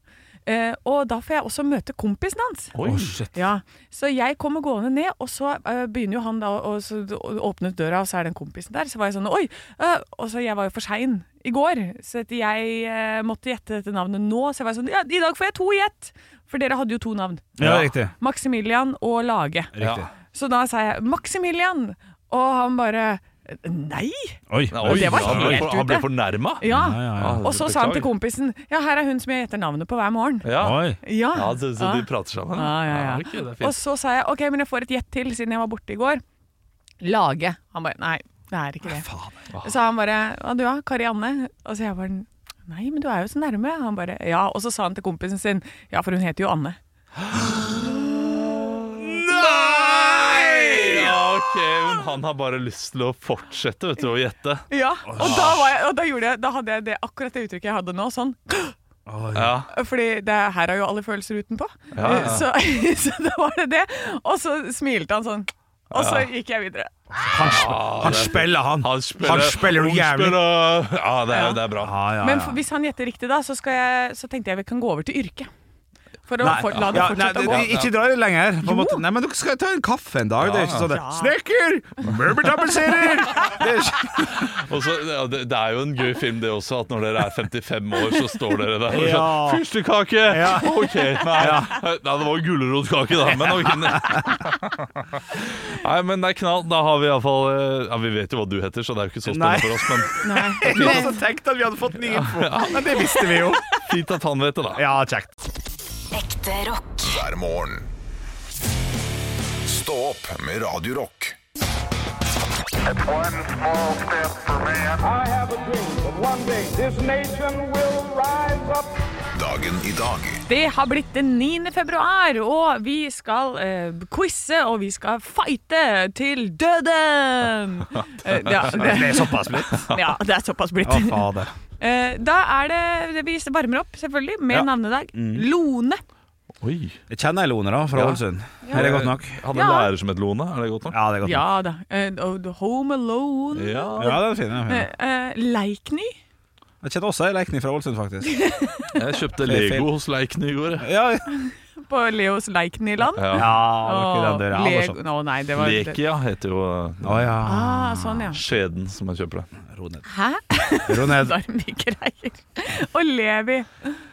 [SPEAKER 2] Eh, og da får jeg også møte kompisen hans.
[SPEAKER 3] Oi.
[SPEAKER 2] Ja, Så jeg kommer gående ned, og så eh, begynner jo han da å så åpne døra, og så er den kompisen der. Så var jeg sånn Oi! eh, og så jeg var jo for sein i går, så at jeg eh, måtte gjette dette navnet nå. Så jeg var sånn Ja, i dag får jeg to gjett! For dere hadde jo to navn.
[SPEAKER 4] Ja,
[SPEAKER 3] Ja.
[SPEAKER 4] riktig.
[SPEAKER 2] Maximilian og Lage.
[SPEAKER 4] Riktig.
[SPEAKER 2] Så da sa jeg 'Maximilian', og han bare 'nei'.
[SPEAKER 4] Oi.
[SPEAKER 3] Oi,
[SPEAKER 2] Det var
[SPEAKER 3] han ble
[SPEAKER 2] helt
[SPEAKER 3] for- Han ble
[SPEAKER 2] ute.
[SPEAKER 3] fornærma.
[SPEAKER 4] Ja,
[SPEAKER 2] Ja.
[SPEAKER 4] ja, ja.
[SPEAKER 2] Og så sa han til kompisen 'ja, her er hun som jeg gjetter navnet på hver morgen'.
[SPEAKER 3] Ja.
[SPEAKER 4] Oi.
[SPEAKER 2] Ja,
[SPEAKER 3] Ja, så, så de
[SPEAKER 2] Ja.
[SPEAKER 3] prater sammen?
[SPEAKER 2] Ja, ja, ja.
[SPEAKER 3] ok, det er
[SPEAKER 2] Og
[SPEAKER 3] fint.
[SPEAKER 2] så sa jeg 'ok, men jeg får et gjett til, siden jeg var borte i går'. Lage. Han bare 'nei, det er ikke det'. Så han bare 'hva du da, Karianne'? Og så jeg bare 'Nei, men du er jo så nærme'. Han bare 'ja'. Og så sa han til kompisen sin 'ja, for hun heter jo Anne'.
[SPEAKER 3] Ja, ok, men han har bare lyst til å fortsette vet du, å gjette.
[SPEAKER 2] Ja, Og da, var jeg, og da, gjorde jeg, da hadde jeg det, akkurat det uttrykket jeg hadde nå, sånn.
[SPEAKER 3] Ja.
[SPEAKER 2] Fordi det, her er jo alle følelser utenpå. Eh,
[SPEAKER 3] Ja, ja.
[SPEAKER 2] Så, <laughs> så da var det det. Og så smilte han sånn. Og så gikk jeg videre.
[SPEAKER 4] Han, sp han spiller, han.
[SPEAKER 3] Han spiller,
[SPEAKER 4] spiller jo
[SPEAKER 3] hun
[SPEAKER 4] jævlig.
[SPEAKER 3] spiller- Ja, det er,
[SPEAKER 2] Ja.
[SPEAKER 3] det er bra.
[SPEAKER 4] Ja, ja,
[SPEAKER 2] Men
[SPEAKER 4] ja.
[SPEAKER 2] for, hvis han gjetter riktig, da, så, skal jeg, så tenkte jeg vi kan gå over til yrke. For å
[SPEAKER 4] Nei,
[SPEAKER 2] for, la det
[SPEAKER 4] ja,
[SPEAKER 2] fortsette
[SPEAKER 4] nei,
[SPEAKER 2] å gå.
[SPEAKER 4] det- Ikke dra det lenger. På en måte. Nei, men dere skal ta en kaffe en dag. Det er ikke sånn det.
[SPEAKER 2] Ja.
[SPEAKER 4] Snekker! Møbeltapetserer! Det er ikke-
[SPEAKER 3] Og så, ja, det, det er jo en gøy film, det også, at når dere er 55 år, så står dere der og
[SPEAKER 4] Ja.
[SPEAKER 3] sånn Fyrstekake! OK. Nei, nei, det var jo gulrotkake, da. Men
[SPEAKER 2] <laughs>
[SPEAKER 3] ok. Nei, men det er knall. Da har vi iallfall eh, Ja, vi vet jo hva du heter, så det er jo ikke så
[SPEAKER 4] Nei.
[SPEAKER 3] spennende for oss, men
[SPEAKER 2] Nei.
[SPEAKER 4] <laughs> Vi hadde tenkt at vi hadde fått ny info, men det visste vi jo.
[SPEAKER 3] fint at han vet det, da.
[SPEAKER 4] Ja, kjekt.
[SPEAKER 6] Ekte rock.
[SPEAKER 1] hver morgen. Stå opp med Radio Rock.
[SPEAKER 7] One small step for man.
[SPEAKER 8] I have a dream that one day this nation will rise up.
[SPEAKER 1] Dagen i dag
[SPEAKER 2] Det har blitt den 9. februar, og vi skal eh, quize, og vi skal fighte til
[SPEAKER 4] <laughs>
[SPEAKER 2] døden! Eh, ja,
[SPEAKER 4] Det er
[SPEAKER 2] det,
[SPEAKER 4] såpass blitt.
[SPEAKER 2] <laughs> ja, det er såpass blitt.
[SPEAKER 4] Å, fader.
[SPEAKER 2] Eh, da er det Vi varmer opp, selvfølgelig, med
[SPEAKER 4] Ja. Mm.
[SPEAKER 2] navnedag. Lone.
[SPEAKER 3] Oi.
[SPEAKER 4] Jeg kjenner Elone, da, fra
[SPEAKER 3] Ja.
[SPEAKER 4] Ålesund. Er det godt nok?
[SPEAKER 3] Hadde en
[SPEAKER 2] Ja.
[SPEAKER 3] lærer som het Lone. Er det godt nok?
[SPEAKER 4] Ja, det er godt nok.
[SPEAKER 2] Ja da. Eh, og The home Alone.
[SPEAKER 3] Ja.
[SPEAKER 4] Ja, den er fin. den er fin.
[SPEAKER 2] Eh, eh, Leikny.
[SPEAKER 4] Jeg kjenner også ei Leikny fra Ålesund, faktisk.
[SPEAKER 3] Jeg kjøpte Lego hos Leikny i går. jeg.
[SPEAKER 4] Ja,
[SPEAKER 2] På Leos Leikny-land.
[SPEAKER 3] Ja.
[SPEAKER 4] ja det
[SPEAKER 2] Og
[SPEAKER 4] var ikke den
[SPEAKER 2] Lego
[SPEAKER 4] døra. sånn.
[SPEAKER 2] Nå, nei, det var
[SPEAKER 3] Lekia heter jo
[SPEAKER 4] Å ja.
[SPEAKER 2] Ah, sånn, ja.
[SPEAKER 3] skjeden som jeg kjøper det.
[SPEAKER 4] Ro ned.
[SPEAKER 2] Hæ?
[SPEAKER 4] Ro ned.
[SPEAKER 2] Da <laughs> er <laughs> det mye greier. Og Levi.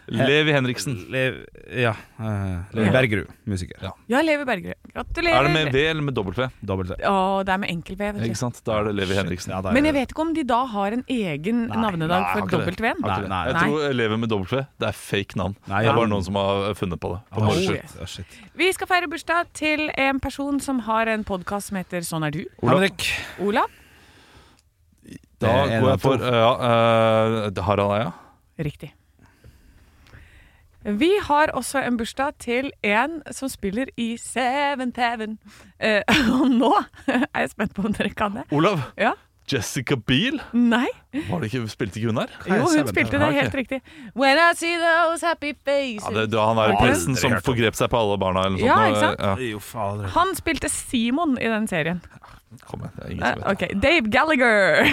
[SPEAKER 3] Levi Henriksen.
[SPEAKER 4] Lev, ja. eh, Levi
[SPEAKER 2] Ja.
[SPEAKER 4] Bergerud, musiker. Ja.
[SPEAKER 2] Ja, Levi Bergerud. Gratulerer.
[SPEAKER 3] Er det med V eller med dobbelt V?
[SPEAKER 4] Dobbelt det.
[SPEAKER 2] Å, det er med enkel V.
[SPEAKER 3] Ikke
[SPEAKER 2] vet du.
[SPEAKER 3] sant? Da er det Levi Henriksen.
[SPEAKER 4] Ja, da er
[SPEAKER 2] Men jeg
[SPEAKER 4] det-
[SPEAKER 2] vet ikke om de da har en egen navnedag
[SPEAKER 4] nei,
[SPEAKER 2] for
[SPEAKER 4] har ikke det.
[SPEAKER 2] dobbelt-V-en.
[SPEAKER 4] Har ikke det.
[SPEAKER 2] Nei.
[SPEAKER 4] Nei.
[SPEAKER 3] Jeg tror Levi med dobbelt V det er fake navn.
[SPEAKER 4] Nei,
[SPEAKER 3] Det
[SPEAKER 4] ja.
[SPEAKER 3] er bare noen som har funnet på det. På
[SPEAKER 4] Å,
[SPEAKER 3] vår skyld.
[SPEAKER 4] shit. Å, shit.
[SPEAKER 2] Vi skal feire bursdag til en person som har en podkast som heter Sånn er du.
[SPEAKER 4] Henrik.
[SPEAKER 2] Olav.
[SPEAKER 3] Da
[SPEAKER 4] Det er en
[SPEAKER 3] går
[SPEAKER 4] av
[SPEAKER 3] jeg for
[SPEAKER 4] to.
[SPEAKER 3] ja, eh, Harald Eia.
[SPEAKER 2] Riktig. Vi har også en bursdag til en som spiller i Seven Teven. Eh, <laughs> og nå er jeg spent på om dere kan det.
[SPEAKER 3] Olav!
[SPEAKER 2] Ja.
[SPEAKER 3] Jessica Biel?
[SPEAKER 2] Nei?
[SPEAKER 3] Var det ikke, spilte ikke hun der?
[SPEAKER 4] er
[SPEAKER 2] Jo, hun
[SPEAKER 4] Seven
[SPEAKER 2] spilte
[SPEAKER 3] Ja,
[SPEAKER 2] det
[SPEAKER 4] Teven?
[SPEAKER 3] ok.
[SPEAKER 2] helt riktig. When I see those happy
[SPEAKER 3] Ja, det,
[SPEAKER 2] faces
[SPEAKER 3] da han er
[SPEAKER 2] Har
[SPEAKER 3] jo
[SPEAKER 2] ikke
[SPEAKER 3] presten
[SPEAKER 4] det?
[SPEAKER 3] som
[SPEAKER 4] Dere hørte om.
[SPEAKER 3] forgrep seg på alle barna. Eller noe
[SPEAKER 2] Ja,
[SPEAKER 3] sånt.
[SPEAKER 2] ikke sant?
[SPEAKER 3] Ja,
[SPEAKER 4] Jo, fader.
[SPEAKER 2] Han spilte Simon i den serien.
[SPEAKER 3] kom igjen, det er ingen
[SPEAKER 2] Eh,
[SPEAKER 3] som vet det.
[SPEAKER 2] Ok, Dave Gallagher.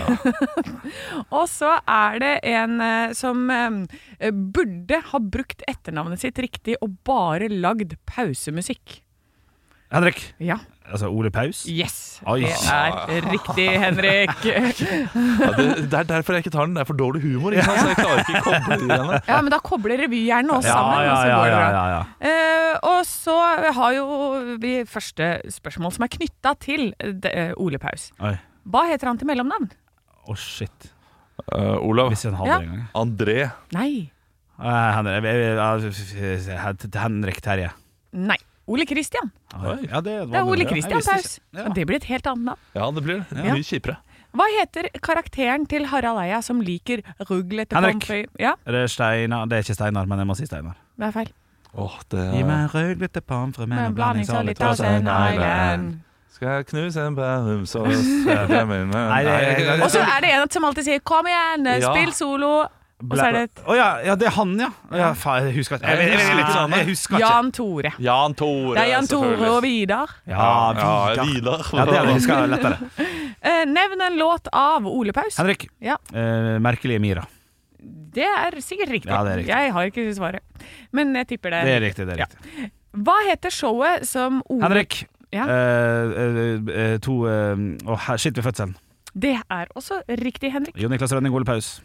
[SPEAKER 2] <laughs> og så er det en eh, som eh, burde ha brukt etternavnet sitt riktig og bare lagd pausemusikk.
[SPEAKER 4] Henrik.
[SPEAKER 2] Ja.
[SPEAKER 4] Altså Ole Paus?
[SPEAKER 2] Yes. Ah.
[SPEAKER 4] Oi.
[SPEAKER 2] Det er riktig, Henrik.
[SPEAKER 3] Ja, det, det er derfor jeg ikke tar den. Det er for dårlig humor. Ikke sant? Så jeg klarer ikke å koble de greiene.
[SPEAKER 2] <laughs> Ja, men da kobler revyhjernen oss sammen.
[SPEAKER 4] ja,
[SPEAKER 2] og så
[SPEAKER 4] ja,
[SPEAKER 2] går det
[SPEAKER 4] ja,
[SPEAKER 2] bra.
[SPEAKER 4] ja, ja.
[SPEAKER 2] Eh, og så har jo vi første spørsmål som er knytta til eh, de, eh, Ole Paus.
[SPEAKER 4] Oi.
[SPEAKER 2] Hva heter han til mellomnavn?
[SPEAKER 4] Å, shit.
[SPEAKER 3] <laughs> Eh, Olav.
[SPEAKER 4] Hvis jeg hadde
[SPEAKER 2] Ja.
[SPEAKER 4] det en gang.
[SPEAKER 3] André.
[SPEAKER 2] Nei.
[SPEAKER 4] Eh, Henrik, jeg- jeg- jeg- jeg- Henrik Terje.
[SPEAKER 2] Nei. Ole Christian.
[SPEAKER 4] Oi. Ja, det,
[SPEAKER 2] Det er Ole
[SPEAKER 4] vanlig, ja.
[SPEAKER 2] Christian
[SPEAKER 4] Jeg visste
[SPEAKER 2] Paus.
[SPEAKER 4] ikke.
[SPEAKER 2] Og det blir et helt annet navn.
[SPEAKER 3] Ja, det blir det.
[SPEAKER 2] Ja.
[SPEAKER 3] Mye kjipere.
[SPEAKER 2] Hva heter karakteren til Harald Eia som liker ruglete
[SPEAKER 4] Henrik.
[SPEAKER 2] pomfrøy? Ja,
[SPEAKER 4] Er det Steinar? Det er ikke Steinar, men jeg må si Steinar.
[SPEAKER 2] det er feil.
[SPEAKER 3] Åh, det
[SPEAKER 4] Gi meg en rødglete pomfrø med en blanding av litt Thousand Island.
[SPEAKER 3] Skal jeg knuse en bærumsås? <laughs> Nei,
[SPEAKER 4] det er-
[SPEAKER 2] Og så er det en som alltid sier 'kom igjen,
[SPEAKER 3] Ja.
[SPEAKER 2] spill solo'. Og så er det et
[SPEAKER 4] Å ja, ja, det er han, ja. Å, ja faen, jeg husker ikke. Jeg, jeg, jeg, jeg, jeg, jeg husker ikke.
[SPEAKER 2] Jan Tore.
[SPEAKER 3] Jan Tore,
[SPEAKER 2] Det er Jan Tore og
[SPEAKER 3] selvfølgelig.
[SPEAKER 2] Vidar.
[SPEAKER 4] Ja,
[SPEAKER 3] Ja,
[SPEAKER 4] Vidar.
[SPEAKER 3] Vidar.
[SPEAKER 4] Ja, det er det. Husker jeg lettere.
[SPEAKER 2] Eh, Nevn en låt av Ole Paus.
[SPEAKER 4] Henrik.
[SPEAKER 2] Ja,
[SPEAKER 4] Eh, merkelige Mira.
[SPEAKER 2] det er sikkert riktig.
[SPEAKER 4] Ja, det er riktig.
[SPEAKER 2] Jeg har ikke svaret, men jeg tipper det.
[SPEAKER 4] Det er riktig. det er riktig
[SPEAKER 2] Hva heter showet som Ole
[SPEAKER 4] Henrik.
[SPEAKER 2] Ja.
[SPEAKER 4] eh, eh, to eh, Å, her- Shit ved fødselen.
[SPEAKER 2] Det er også riktig, Henrik.
[SPEAKER 4] Jon Niklas Rønning, Ole Paus.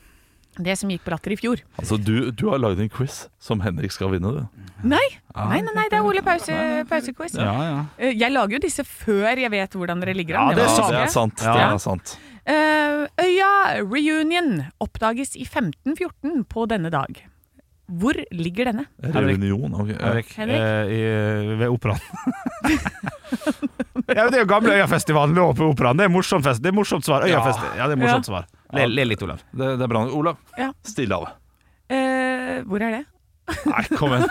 [SPEAKER 2] Det som gikk på Latter i fjor.
[SPEAKER 3] Altså, du, du har lagd en quiz som Henrik skal vinne, du.
[SPEAKER 2] Nei, nei, nei, nei det er Ole Pause- Pause-quiz.
[SPEAKER 4] Ja, ja.
[SPEAKER 2] Eh, Jeg lager jo disse før jeg vet hvordan dere ligger an.
[SPEAKER 4] Ja, det er
[SPEAKER 2] var
[SPEAKER 4] sant.
[SPEAKER 3] det er
[SPEAKER 2] vanskelig.
[SPEAKER 3] sant. Det
[SPEAKER 4] Ja.
[SPEAKER 3] er sant.
[SPEAKER 2] Eh, øya Reunion oppdages i 1514 på denne dag. Hvor ligger denne?
[SPEAKER 4] Henrik.
[SPEAKER 3] Reunion. ok.
[SPEAKER 4] Henrik.
[SPEAKER 2] Henrik?
[SPEAKER 4] eh, i, ved Operaen. <laughs> ja, men det er jo gamle Øyafestivalen lå på Operaen. Det er morsomt, fest. det er morsomt svar. Øyafest. Ja, det er morsomt svar. Le, le litt, Olav.
[SPEAKER 3] Det, det er bra. Olav,
[SPEAKER 2] Ja.
[SPEAKER 3] Stillehavet.
[SPEAKER 2] Eh, hvor er det?
[SPEAKER 3] Nei, kom igjen.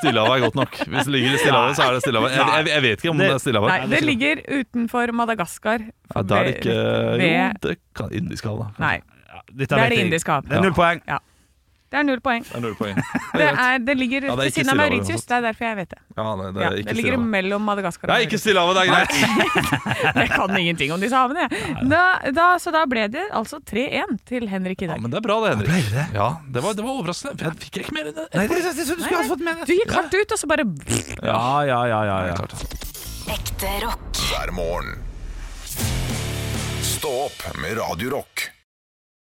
[SPEAKER 3] Stillehavet er godt nok. Hvis det ligger i Stillehavet, så er det Stillehavet. Jeg, jeg, jeg vet ikke om det, er
[SPEAKER 2] Nei,
[SPEAKER 3] Stillehavet.
[SPEAKER 2] det ligger utenfor Madagaskar.
[SPEAKER 3] Ja, da er det ikke Jo,
[SPEAKER 2] Ved-
[SPEAKER 3] det kan Indisk hav, da.
[SPEAKER 2] Nei.
[SPEAKER 4] Dette
[SPEAKER 2] Det er
[SPEAKER 4] vet
[SPEAKER 2] det
[SPEAKER 4] jeg.
[SPEAKER 2] indiske havet.
[SPEAKER 4] Det er null poeng.
[SPEAKER 2] Det er null poeng.
[SPEAKER 3] <laughs> Det er null poeng. Det
[SPEAKER 2] Det,
[SPEAKER 3] er greit.
[SPEAKER 2] er, det ligger
[SPEAKER 3] Ja, det er
[SPEAKER 2] ved
[SPEAKER 3] ikke
[SPEAKER 2] siden av
[SPEAKER 3] Stillehavet,
[SPEAKER 2] Mauritius. Det er derfor jeg vet det.
[SPEAKER 3] Ja, nei, det
[SPEAKER 2] Ja,
[SPEAKER 3] er
[SPEAKER 2] det
[SPEAKER 3] ikke
[SPEAKER 2] ligger
[SPEAKER 3] Stillehavet.
[SPEAKER 2] mellom Madagaskar og
[SPEAKER 3] Det er ikke Stillehavet, det er greit!
[SPEAKER 2] Jeg kan ingenting om disse havene, jeg. Da, da, så da ble det altså 3-1 til Henrik i
[SPEAKER 3] Ja,
[SPEAKER 2] dag.
[SPEAKER 3] men det er bra det, Henrik.
[SPEAKER 4] ble det?
[SPEAKER 3] Ja, det var, det var overraskende. Jeg fikk ikke mer enn det.
[SPEAKER 4] Nei, det, det, det, du skulle hatt fått med
[SPEAKER 2] Du gikk hardt ut, og så bare
[SPEAKER 4] Ja, ja, ja, ja, ja.
[SPEAKER 6] Ekte rock.
[SPEAKER 1] hver morgen. Stå opp med Radio Rock.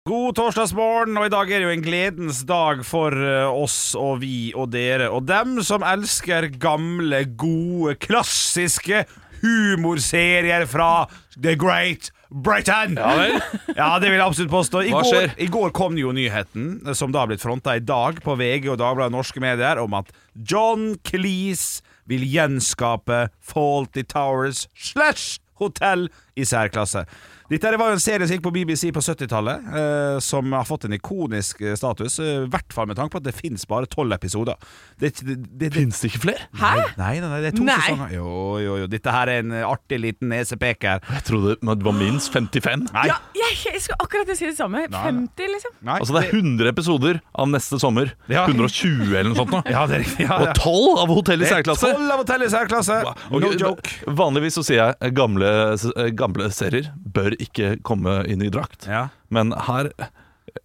[SPEAKER 4] God torsdagsmorgen, og i dag er det jo en gledens dag for eh, oss og vi og dere og dem som elsker gamle, gode, klassiske humorserier fra The Great Britain.
[SPEAKER 3] Ja vel.
[SPEAKER 4] Ja, det vil jeg absolutt påstå. I
[SPEAKER 3] Hva
[SPEAKER 4] går,
[SPEAKER 3] skjer?
[SPEAKER 4] I går kom jo nyheten, eh, som da har blitt fronta i dag på VG og Dagbladet og norske medier, om at John Cleese vil gjenskape Faulty Towers slash hotell i særklasse. Dette her var jo en serie som gikk på BBC på 70-tallet, eh, som har fått en ikonisk eh, status. eh, I hvert fall med tanke på at det fins bare tolv episoder. Det, er ikke- det, det, det,
[SPEAKER 3] Fins det ikke flere?
[SPEAKER 2] Hæ?
[SPEAKER 4] Nei, nei, nei, det er to
[SPEAKER 2] Nei.
[SPEAKER 4] sesonger. Jo, jo, jo. Dette her er en eh, artig liten nesepeker.
[SPEAKER 3] Jeg trodde det var minst 55.
[SPEAKER 4] Nei.
[SPEAKER 2] Ja, jeg, jeg skulle akkurat si det samme. 50, liksom.
[SPEAKER 4] nei.
[SPEAKER 3] Altså Det er 100 episoder av neste sommer.
[SPEAKER 4] Ja.
[SPEAKER 3] 120 eller noe <laughs> sånt. nå.
[SPEAKER 4] ja, det, er- ja,
[SPEAKER 3] Og
[SPEAKER 4] ja.
[SPEAKER 3] 12 av hotell i særklasse!
[SPEAKER 4] Eh, Tolv av hotell i særklasse! No
[SPEAKER 3] Ok,
[SPEAKER 4] joke.
[SPEAKER 3] Vanligvis så sier jeg eh, gamle, s- eh, gamle serier bør ikke komme i ny drakt.
[SPEAKER 4] Ja.
[SPEAKER 3] Men her eh,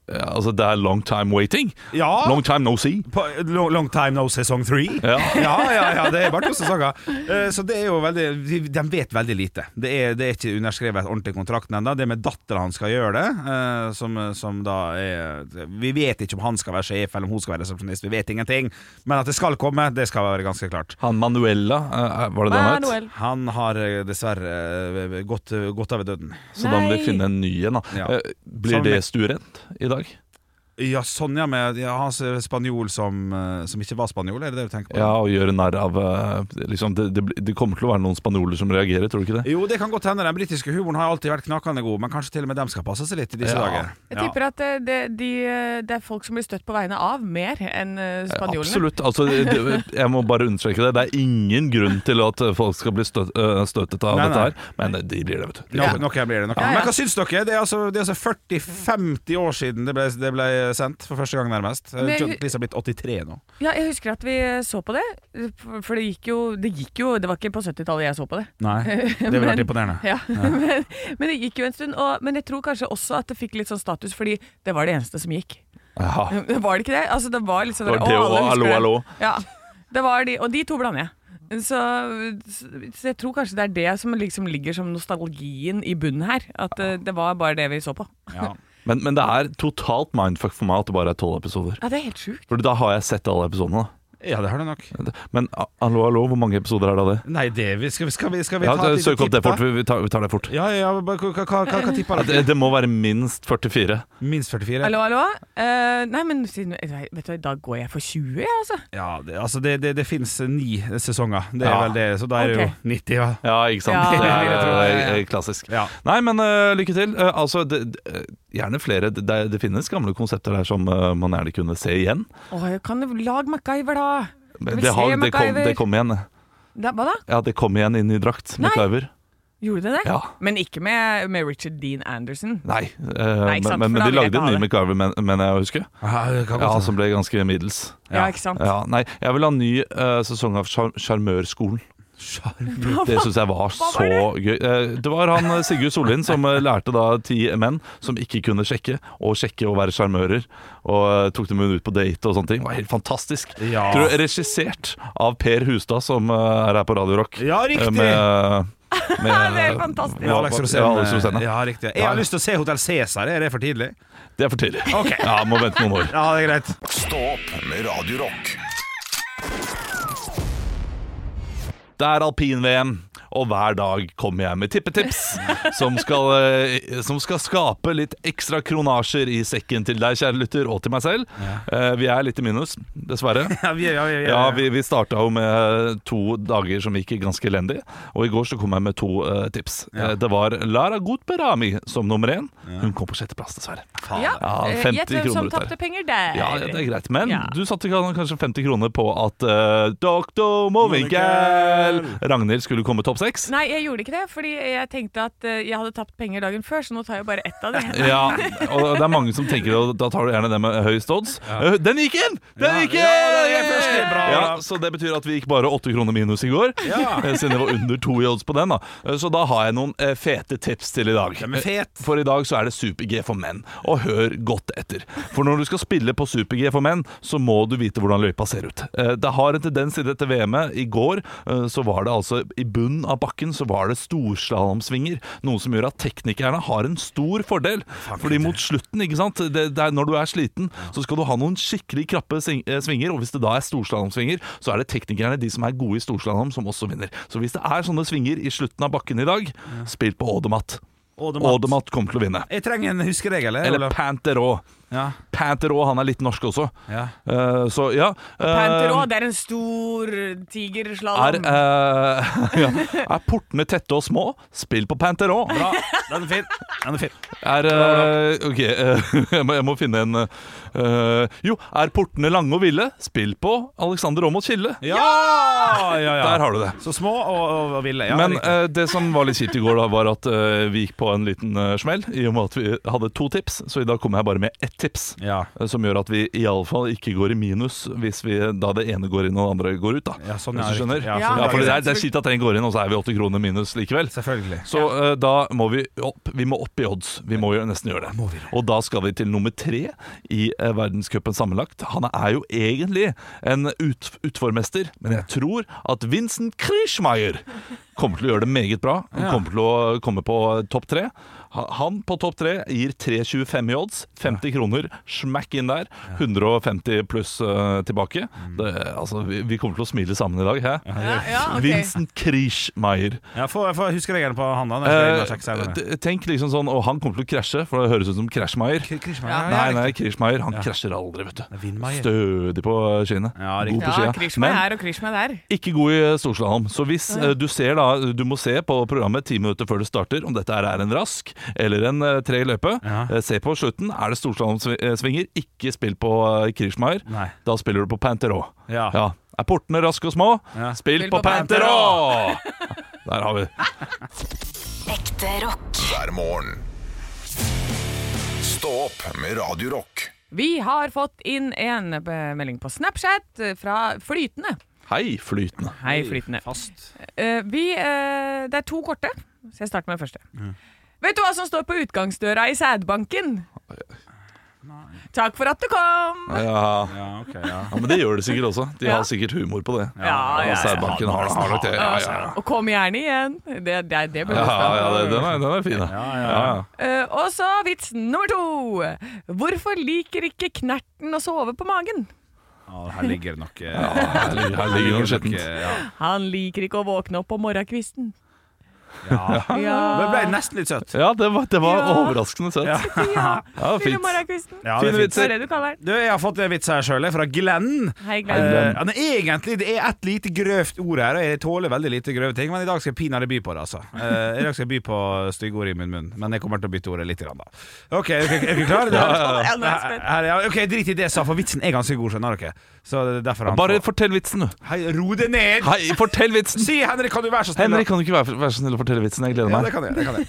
[SPEAKER 3] Altså, det er long time waiting.
[SPEAKER 4] Ja.
[SPEAKER 3] Long time no see.
[SPEAKER 4] På, long, long time no sesong three.
[SPEAKER 3] Ja.
[SPEAKER 4] Ah. ja, ja, ja, det er bare to sesonger. Eh, Så det er jo veldig De, de vet veldig lite. Det er, det er ikke underskrevet ordentlig kontrakten ennå. Det med dattera han skal gjøre det, eh, som, som da er Vi vet ikke om han skal være sjef, eller om hun skal være resepsjonist. Vi vet ingenting. Men at det skal komme, det skal være ganske klart.
[SPEAKER 3] <laughs> Han Manuela, eh, var det det han het?
[SPEAKER 2] Manuel.
[SPEAKER 4] Han har eh, dessverre eh, gått, gått av ved døden.
[SPEAKER 3] Så da må
[SPEAKER 2] Nei.
[SPEAKER 3] vi finne en ny en. da
[SPEAKER 4] Ja.
[SPEAKER 3] Eh, Blir
[SPEAKER 4] Sammen
[SPEAKER 3] det
[SPEAKER 4] med-
[SPEAKER 3] stuerent i dag?
[SPEAKER 4] Ja, sånn ja, med ja, han som er spanjol som, eh, som ikke var spanjol, er det det du tenker på?
[SPEAKER 3] Ja, og gjøre narr av eh, liksom, det, det, blir- det kommer til å være noen spanjoler som reagerer, tror du ikke det?
[SPEAKER 4] Jo, det kan godt hende. Den britiske humoren har alltid vært knakende god, men kanskje til og med dem skal passe seg litt i disse
[SPEAKER 3] Ja.
[SPEAKER 4] dager.
[SPEAKER 2] Jeg tipper at det, det, de, eh, det er folk som blir støtt på vegne av mer enn eh, spanjolene.
[SPEAKER 3] Absolutt. Altså, det, jeg må bare understreke det. Det er ingen grunn til at eh, folk skal bli støt, øh, støtet av
[SPEAKER 4] Nei,
[SPEAKER 3] dette
[SPEAKER 4] nei.
[SPEAKER 3] her, men eh, de blir det, vet du.
[SPEAKER 4] Nå, Noe blir det. Noe.
[SPEAKER 2] Ja, ja.
[SPEAKER 4] Men hva syns dere? Det er altså, det er altså 40-50 år siden det ble, det ble sendt, for første gang nærmest.
[SPEAKER 2] Men-
[SPEAKER 4] John Cleese har blitt 83 nå.
[SPEAKER 2] Ja, jeg husker at vi eh, så på det. For for det gikk jo Det, gikk jo, det var ikke på 70-tallet jeg så på det. <laughs>
[SPEAKER 4] Nei, det ville vært imponerende.
[SPEAKER 2] Ja. <laughs> men, men det gikk jo en stund. Og, men jeg tror kanskje også at det fikk litt sånn status, fordi det var det eneste som gikk. <laughs>
[SPEAKER 3] Ja.
[SPEAKER 2] Var det ikke det? Altså, det var litt sånn
[SPEAKER 3] Det var
[SPEAKER 2] der,
[SPEAKER 3] det
[SPEAKER 2] «Å, alle
[SPEAKER 3] og
[SPEAKER 2] husker
[SPEAKER 3] hallo,
[SPEAKER 2] det».
[SPEAKER 3] hallo.
[SPEAKER 2] Ja, det var de. Og de to blander jeg. Så, så jeg tror kanskje det er det som liksom ligger som nostalgien i bunnen her. At eh, det var bare det vi så på.
[SPEAKER 4] Ja.
[SPEAKER 3] Men, men det er totalt mindfuck for meg at det bare er tolv episoder.
[SPEAKER 2] Ja, det er helt sjukt.
[SPEAKER 3] For da har jeg sett alle episodene.
[SPEAKER 4] ja, det har du nok.
[SPEAKER 3] da. Men a- hallo, hallo, hvor mange episoder er det av det?
[SPEAKER 4] Nei, det vi, skal, vi- skal vi, skal vi
[SPEAKER 3] Ja,
[SPEAKER 4] ta et lite
[SPEAKER 3] Søk opp det
[SPEAKER 4] tipp, da?
[SPEAKER 3] fort. Vi, vi tar, vi tar det fort.
[SPEAKER 4] Ja, ja, ja, bare hva, hva, hva, hva tipper
[SPEAKER 3] Det,
[SPEAKER 4] dere?
[SPEAKER 3] det må være minst 44.
[SPEAKER 4] Minst 44?
[SPEAKER 2] Hallo, hallo. Eh, nei, men siden, vet du hva, i dag går jeg for 20, jeg, altså.
[SPEAKER 4] Ja, det, altså det, det, det finnes eh, ni sesonger. Det er
[SPEAKER 3] Ja.
[SPEAKER 4] vel det, så da er
[SPEAKER 2] Ok.
[SPEAKER 4] det jo 90, ja.
[SPEAKER 3] Ja, ikke sant?
[SPEAKER 2] Ja,
[SPEAKER 3] det er,
[SPEAKER 2] jeg tror det,
[SPEAKER 3] eh, klassisk.
[SPEAKER 4] Ja.
[SPEAKER 3] Nei, men eh, lykke til. Eh, altså, det, det- gjerne flere. Det, det- det finnes gamle konsepter der som eh, man gjerne kunne se igjen.
[SPEAKER 2] Åh, jeg kan lag MacGyver, da. Jeg
[SPEAKER 3] Men
[SPEAKER 2] vil
[SPEAKER 3] det, har,
[SPEAKER 2] se
[SPEAKER 3] det, kom,
[SPEAKER 2] MacGyver.
[SPEAKER 3] det kom igjen.
[SPEAKER 2] Da, hva da?
[SPEAKER 3] Ja, det kom igjen inn i drakt.
[SPEAKER 2] Nei.
[SPEAKER 3] MacGyver.
[SPEAKER 2] Gjorde det det?
[SPEAKER 3] Ja.
[SPEAKER 2] Men ikke med, med Richard Dean Anderson.
[SPEAKER 3] Nei, eh,
[SPEAKER 2] ikke sant,
[SPEAKER 3] men, men, de
[SPEAKER 2] for da vil jeg
[SPEAKER 3] lagde en
[SPEAKER 2] ikke
[SPEAKER 3] ny
[SPEAKER 2] ha det. altså.
[SPEAKER 3] MacGyver, men, men jeg husker.
[SPEAKER 4] Ja, det kan
[SPEAKER 3] Ja,
[SPEAKER 4] godt
[SPEAKER 3] som ble ganske middels.
[SPEAKER 2] Ja, ikke sant?
[SPEAKER 3] Ja, nei, jeg vil ha en ny eh, sesong av Sjar- Sjarmørskolen. Det syns jeg var så gøy. Eh, det var han eh, Sigurd Sollien som eh, lærte da ti menn som ikke kunne sjekke, å sjekke og være sjarmører. Og eh, tok dem ut på date og sånne ting. Det var helt fantastisk.
[SPEAKER 4] Ja.
[SPEAKER 3] Tror jeg, regissert av Per Hustad, som eh, er her på Radio Rock. Eh,
[SPEAKER 4] Ja, riktig.
[SPEAKER 3] med,
[SPEAKER 2] <laughs>
[SPEAKER 3] med-
[SPEAKER 2] Det er fantastisk.
[SPEAKER 4] Med Alex Rosén.
[SPEAKER 3] Ja, Alex Rosén, ja.
[SPEAKER 4] eh, Ja, riktig. Jeg
[SPEAKER 3] Ja,
[SPEAKER 4] har
[SPEAKER 3] ja.
[SPEAKER 4] lyst til å se Hotell Cæsar. Er det for tidlig?
[SPEAKER 3] Det er for tidlig.
[SPEAKER 4] Ok.
[SPEAKER 3] Ja, må vente noen år.
[SPEAKER 4] Ja, det er greit.
[SPEAKER 1] Stå opp med Radio Rock.
[SPEAKER 3] Det er alpin-VM, Og hver dag kommer jeg med tippetips som skal, eh, som skal skape litt ekstra kronasjer i sekken til deg, kjære lytter, og til meg selv. Eh, Vi er litt i minus, dessverre.
[SPEAKER 4] Ja, vi, ja, ja,
[SPEAKER 3] <laughs>
[SPEAKER 4] ja,
[SPEAKER 3] Ja, vi, vi starta jo med eh, to dager som gikk ganske elendig, og i går så kom jeg med to eh, tips. Eh, det var Lara Gutberami som nummer én. Hun kom på sjetteplass, dessverre.
[SPEAKER 2] Ja,
[SPEAKER 3] Ja,
[SPEAKER 2] eh,
[SPEAKER 3] 50
[SPEAKER 2] Gjett hvem
[SPEAKER 3] kroner
[SPEAKER 2] som
[SPEAKER 3] ut der.
[SPEAKER 2] tapte penger der.
[SPEAKER 3] Ja, det er greit, men
[SPEAKER 2] Ja.
[SPEAKER 3] du satte kan- kanskje 50 kroner på at uh, Doktor Mowinckel Ragnhild skulle komme topp seks.
[SPEAKER 2] Nei, jeg gjorde ikke det, fordi jeg tenkte at eh, jeg hadde tapt penger dagen før, så nå tar jeg bare ett av de.
[SPEAKER 3] <laughs> Ja, og det er mange som tenker at da tar du gjerne det med høyest odds. Eh, Den gikk inn! Den
[SPEAKER 4] Ja.
[SPEAKER 3] gikk inn!
[SPEAKER 4] Ja, det er først, det er bra.
[SPEAKER 3] så det betyr at vi gikk bare åtte kroner minus i går,
[SPEAKER 4] Ja.
[SPEAKER 3] eh, siden det var under to i odds på den. da Eh, Så da har jeg noen eh, fete tips til i dag.
[SPEAKER 4] De er fet.
[SPEAKER 3] Eh, For i dag så er det super-G for menn, og hør godt etter. For når du skal spille på super-G for menn, så må du vite hvordan løypa ser ut. Eh, Det har en tendens i dette VM-et. I går eh, så var det altså i bunnen av bakken så var det storslalåmsvinger, noe som gjør at teknikerne har en stor fordel. Fordi mot slutten, ikke sant, det, det er, når du er sliten, så skal du ha noen skikkelig krappe sving- eh, svinger, og hvis det da er storslalåmsvinger, så er det teknikerne, de som er gode i storslalåm, som også vinner. Så hvis det er sånne svinger i slutten av bakken i dag, spill på Odomat.
[SPEAKER 4] Odomat.
[SPEAKER 3] Odomat kommer til å vinne.
[SPEAKER 4] Jeg trenger en huskeregel. jeg,
[SPEAKER 3] Eller
[SPEAKER 4] Olav.
[SPEAKER 3] Panterå.
[SPEAKER 4] Ja.
[SPEAKER 3] Panterå, han er litt norsk også.
[SPEAKER 4] Ja.
[SPEAKER 3] Eh, så ja eh,
[SPEAKER 2] Panter også, det er en stor
[SPEAKER 3] er,
[SPEAKER 2] tigerslalåm.
[SPEAKER 3] eh, <laughs> ja. er portene tette og små? Spill på Panterå.
[SPEAKER 4] Bra. Den er fin. Den er fin.
[SPEAKER 3] Er eh, OK, eh, <laughs> jeg, må, jeg må finne en eh, Jo, er portene lange og ville? Spill på Alexander Aamodt Kilde.
[SPEAKER 4] Ja! ja, ja.
[SPEAKER 3] Der har du det.
[SPEAKER 4] Så små og, og, og ville. Ja,
[SPEAKER 3] Men
[SPEAKER 4] riktig.
[SPEAKER 3] eh, det som var litt kjipt i går, da var at eh, vi gikk på en liten eh, smell. I og med at vi hadde to tips, så i dag kommer jeg bare med ett tips.
[SPEAKER 4] ja.
[SPEAKER 3] Eh, Som gjør at vi iallfall ikke går i minus hvis vi, da det ene går inn og det andre går ut. da
[SPEAKER 4] Ja, sånn,
[SPEAKER 3] Hvis
[SPEAKER 4] ja,
[SPEAKER 3] du skjønner?
[SPEAKER 4] riktig.
[SPEAKER 3] Ja,
[SPEAKER 4] Ja,
[SPEAKER 2] sånn, ja.
[SPEAKER 3] for det er, det er kjipt at den går inn, og så er vi 80 kroner minus likevel.
[SPEAKER 4] Selvfølgelig.
[SPEAKER 3] Så eh, da må vi opp Vi må opp i odds. Vi må jo nesten gjøre det. Og da skal vi til nummer tre i eh, verdenscupen sammenlagt. Han er jo egentlig en ut, utformester, men jeg tror at Vincent Krischmeier kommer til å gjøre det meget bra. Han kommer til å komme på topp tre. Ha- Han på topp tre gir 3,25 i odds. 50 kroner smack inn der. 150 pluss eh, tilbake. Det, altså, vi, vi kommer til å smile sammen i dag. Hæ?
[SPEAKER 2] ja, ja, ok.
[SPEAKER 3] Vincent Krischmeier.
[SPEAKER 4] Ja, få, få huskeregelen på han, da. Den skal jeg inn og sjekke
[SPEAKER 3] Eh,
[SPEAKER 4] senere.
[SPEAKER 3] t- tenk liksom sånn Og han kommer til å krasje, for det høres ut som Krasjmeier.
[SPEAKER 4] K- Krishma,
[SPEAKER 2] Ja.
[SPEAKER 4] ja,
[SPEAKER 3] Nei,
[SPEAKER 4] ja,
[SPEAKER 3] nei,
[SPEAKER 4] riktig.
[SPEAKER 3] Krishmeier han
[SPEAKER 4] Ja.
[SPEAKER 3] krasjer aldri, vet du.
[SPEAKER 4] Vindmeier.
[SPEAKER 3] Stødig på skiene.
[SPEAKER 4] Ja, riktig.
[SPEAKER 3] god på
[SPEAKER 2] Ja,
[SPEAKER 3] skia.
[SPEAKER 2] Krishma
[SPEAKER 3] Men
[SPEAKER 2] her og Krishma der.
[SPEAKER 3] ikke god i eh, storslalåm. Så hvis eh, du ser da Du må se på programmet ti minutter før det starter om dette her er en rask eller en eh, tre i løpe.
[SPEAKER 4] Ja.
[SPEAKER 3] Eh, Se på slutten. Er det storslalåmsvinger, ikke spill på eh, Krishmeier.
[SPEAKER 4] Nei.
[SPEAKER 3] Da spiller du på Panterå.
[SPEAKER 4] Ja.
[SPEAKER 3] Ja. Er portene raske og små?
[SPEAKER 4] Ja.
[SPEAKER 3] Spill, på, Panterå! <laughs> Der har vi det.
[SPEAKER 6] Ekte rock.
[SPEAKER 1] hver morgen. Stå opp med Radio Rock.
[SPEAKER 2] Vi har fått inn en eh, melding på Snapchat eh, fra Flytende.
[SPEAKER 3] Hei, flytende.
[SPEAKER 2] Hei, Flytende.
[SPEAKER 4] Fast.
[SPEAKER 2] Eh, vi, eh, det er to korte, så jeg starter med den første. Vet du hva som står på utgangsdøra i sædbanken? Takk for at du kom!
[SPEAKER 3] Ja.
[SPEAKER 4] Ja, ok, ja.
[SPEAKER 3] Ja, men det gjør det sikkert også. De
[SPEAKER 2] Ja.
[SPEAKER 3] har sikkert humor på det.
[SPEAKER 2] Ja, ja,
[SPEAKER 3] Særbanken har, har nok det. Ja, ja, ja.
[SPEAKER 2] Og kom gjerne igjen. Det, det, det blir
[SPEAKER 3] Ja,
[SPEAKER 2] bra.
[SPEAKER 3] ja, det- den, er, den er fin, da.
[SPEAKER 4] Ja, ja,
[SPEAKER 3] Ja, ja.
[SPEAKER 2] Eh, og så vits nummer to. Hvorfor liker ikke knerten å sove på magen?
[SPEAKER 4] ja, her ligger det nok eh,
[SPEAKER 3] Her ligger- her ligger noe
[SPEAKER 4] nok,
[SPEAKER 3] skjettent.
[SPEAKER 4] eh, ja.
[SPEAKER 2] Han liker ikke å våkne opp på morgenkvisten.
[SPEAKER 3] Ah,
[SPEAKER 4] Ja.
[SPEAKER 2] Ja,
[SPEAKER 4] Det ble nesten litt søtt.
[SPEAKER 3] Ja, det var, det var
[SPEAKER 2] Ja.
[SPEAKER 3] overraskende søtt.
[SPEAKER 4] Ja.
[SPEAKER 2] ja.
[SPEAKER 3] <laughs> Ja,
[SPEAKER 2] Lille
[SPEAKER 3] fint.
[SPEAKER 2] morgenkvisten.
[SPEAKER 4] Ja,
[SPEAKER 3] Fine
[SPEAKER 4] det er
[SPEAKER 2] Det
[SPEAKER 4] fint.
[SPEAKER 2] er
[SPEAKER 3] vitser.
[SPEAKER 2] det du kaller den.
[SPEAKER 4] Du, Jeg har fått en vits her sjøl, fra Glenn.
[SPEAKER 2] Hei,
[SPEAKER 4] Eh,
[SPEAKER 2] Glenn.
[SPEAKER 3] Glenn.
[SPEAKER 4] ja, men egentlig, Det er et lite grøvt ord her, og jeg tåler veldig lite grøve ting. Men i dag skal jeg pinadø by på det, altså. Eh, I dag skal jeg by på stygge ord i min munn. Men jeg kommer til å bytte ordet litt, grann, da. Ok, er dere- er dere klare?
[SPEAKER 2] Ja, nå er jeg spent.
[SPEAKER 4] Her- her- ja, Ok, Drit i det jeg sa, for vitsen er ganske god, skjønner dere. Så det er derfor han
[SPEAKER 3] Bare fortell vitsen, du.
[SPEAKER 4] Hei, ro deg ned!
[SPEAKER 3] Hei, fortell vitsen!
[SPEAKER 4] Si, Henrik, kan du være så snill?
[SPEAKER 3] Henrik, kan du ikke være, være så snill å fortelle vitsen? Jeg gleder
[SPEAKER 4] Ja, det
[SPEAKER 3] meg.
[SPEAKER 4] kan jeg. Det kan jeg.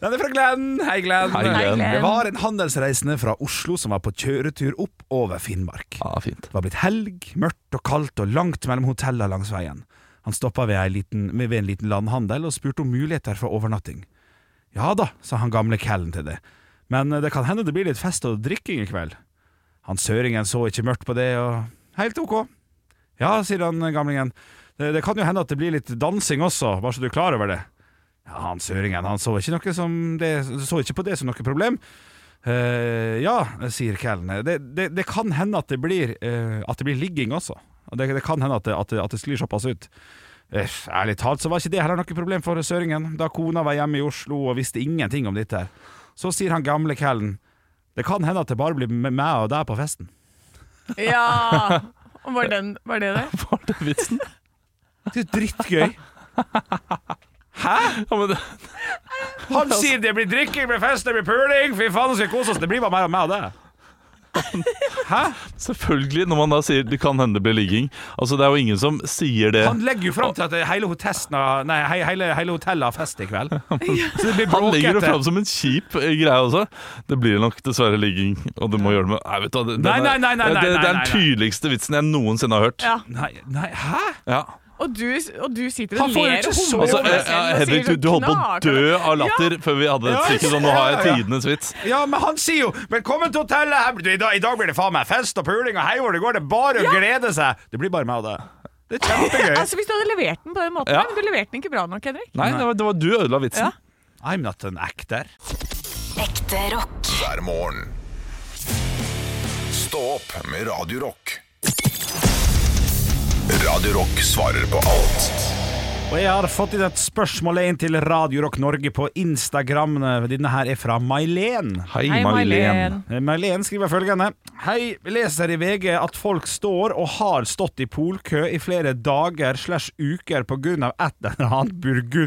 [SPEAKER 4] Den er fra Glenn. Hei, Glenn.
[SPEAKER 3] Hei, Glenn.
[SPEAKER 2] Glenn.
[SPEAKER 4] Det var en handelsreisende fra Oslo som var på kjøretur opp over Finnmark.
[SPEAKER 3] Ja, fint.
[SPEAKER 4] Det var blitt helg, mørkt og kaldt og langt mellom hotellene langs veien. Han stoppa ved, ei liten- ved en liten landhandel og spurte om muligheter for overnatting. Ja da, sa han gamle callen til det, men eh, det kan hende det blir litt fest og drikking i kveld. Han søringen så ikke mørkt på det, og helt ok. Ja, sier han eh, gamlingen, det, det kan jo hende at det blir litt dansing også, bare så du er klar over det. Ja, han søringen, han så ikke, noe som det, så ikke på det som noe problem. Eh, ja, sier Kellen. Det, det, det kan hende at det blir, eh, at det blir ligging også. Og Det, det kan hende at det, at det, at det sklir såpass ut. Eh, Ærlig talt så var ikke det heller noe problem for søringen, da kona var hjemme i Oslo og visste ingenting om dette. her. Så sier han gamle kællen det kan hende at det bare blir med meg og deg på festen.
[SPEAKER 2] Ja! Og Var, den, var det
[SPEAKER 3] <laughs>
[SPEAKER 2] det?
[SPEAKER 3] Var det vitsen?
[SPEAKER 4] Det er drittgøy.
[SPEAKER 3] Ja, men det,
[SPEAKER 4] Han sier det blir drikking, det blir fest, det blir puling, fy faen, så skal vi kose oss. Det blir bare meg og meg og deg. Hæ?
[SPEAKER 3] selvfølgelig, når man da sier det kan hende det blir ligging. Altså, det er jo ingen som sier det.
[SPEAKER 4] Han legger jo fram til at hele, hotesten har- nei, he- hele, hele hotellet har fest i
[SPEAKER 3] <laughs>
[SPEAKER 4] kveld. Så det blir
[SPEAKER 3] Han legger det
[SPEAKER 4] bråkete.
[SPEAKER 3] fram som en kjip eh, greie også. Det blir nok dessverre ligging, og du må gjøre det med Nei, vet du hva, det- den
[SPEAKER 4] Nei,
[SPEAKER 3] er-
[SPEAKER 4] nei, nei, nei, nei,
[SPEAKER 3] det, det er
[SPEAKER 4] nei,
[SPEAKER 3] den
[SPEAKER 4] nei.
[SPEAKER 3] tydeligste vitsen jeg noensinne har hørt.
[SPEAKER 2] Ja.
[SPEAKER 4] Nei, nei, hæ?
[SPEAKER 3] Ja.
[SPEAKER 2] Og du, og du sitter
[SPEAKER 4] Han
[SPEAKER 2] og
[SPEAKER 4] får jo
[SPEAKER 2] ler
[SPEAKER 4] ikke
[SPEAKER 2] og
[SPEAKER 4] sove.
[SPEAKER 2] humler
[SPEAKER 3] Altså,
[SPEAKER 2] over
[SPEAKER 3] eh,
[SPEAKER 2] deg selv og
[SPEAKER 3] Hedvig,
[SPEAKER 2] sier
[SPEAKER 3] du,
[SPEAKER 2] sånn
[SPEAKER 3] du holdt på å
[SPEAKER 2] knakende.
[SPEAKER 3] dø av latter før vi hadde et stikk, så nå har jeg
[SPEAKER 4] ja, ja.
[SPEAKER 3] tidenes vits.
[SPEAKER 4] Ja, men han sier jo 'Velkommen til hotellet'. Her, blir- i, dag, I dag blir det faen meg fest og puling og hei hvor det går. Det er bare å glede seg. Det blir bare meg og deg. Det er kjempegøy.
[SPEAKER 2] <laughs> Altså, hvis du hadde levert den på den måten,
[SPEAKER 3] Ja.
[SPEAKER 2] men du leverte den ikke bra nok, Henrik.
[SPEAKER 3] Nei, det var, det var du ødela vitsen.
[SPEAKER 2] Ja.
[SPEAKER 4] I'm not an actor.
[SPEAKER 6] Ekte rock.
[SPEAKER 1] hver morgen. Stå opp med Radio Rock. Radio Rock svarer på alt.
[SPEAKER 4] Og jeg har fått inn et spørsmål inn til Radio Rock Norge på Instagram. Denne her er fra Mailen.
[SPEAKER 3] Hei,
[SPEAKER 2] Hei,
[SPEAKER 3] Mailen.
[SPEAKER 2] Mailen.
[SPEAKER 4] Marlene skriver følgende Hei, leser i VG at folk står og har stått i polkø i flere dager slash uker på grunn av et eller annet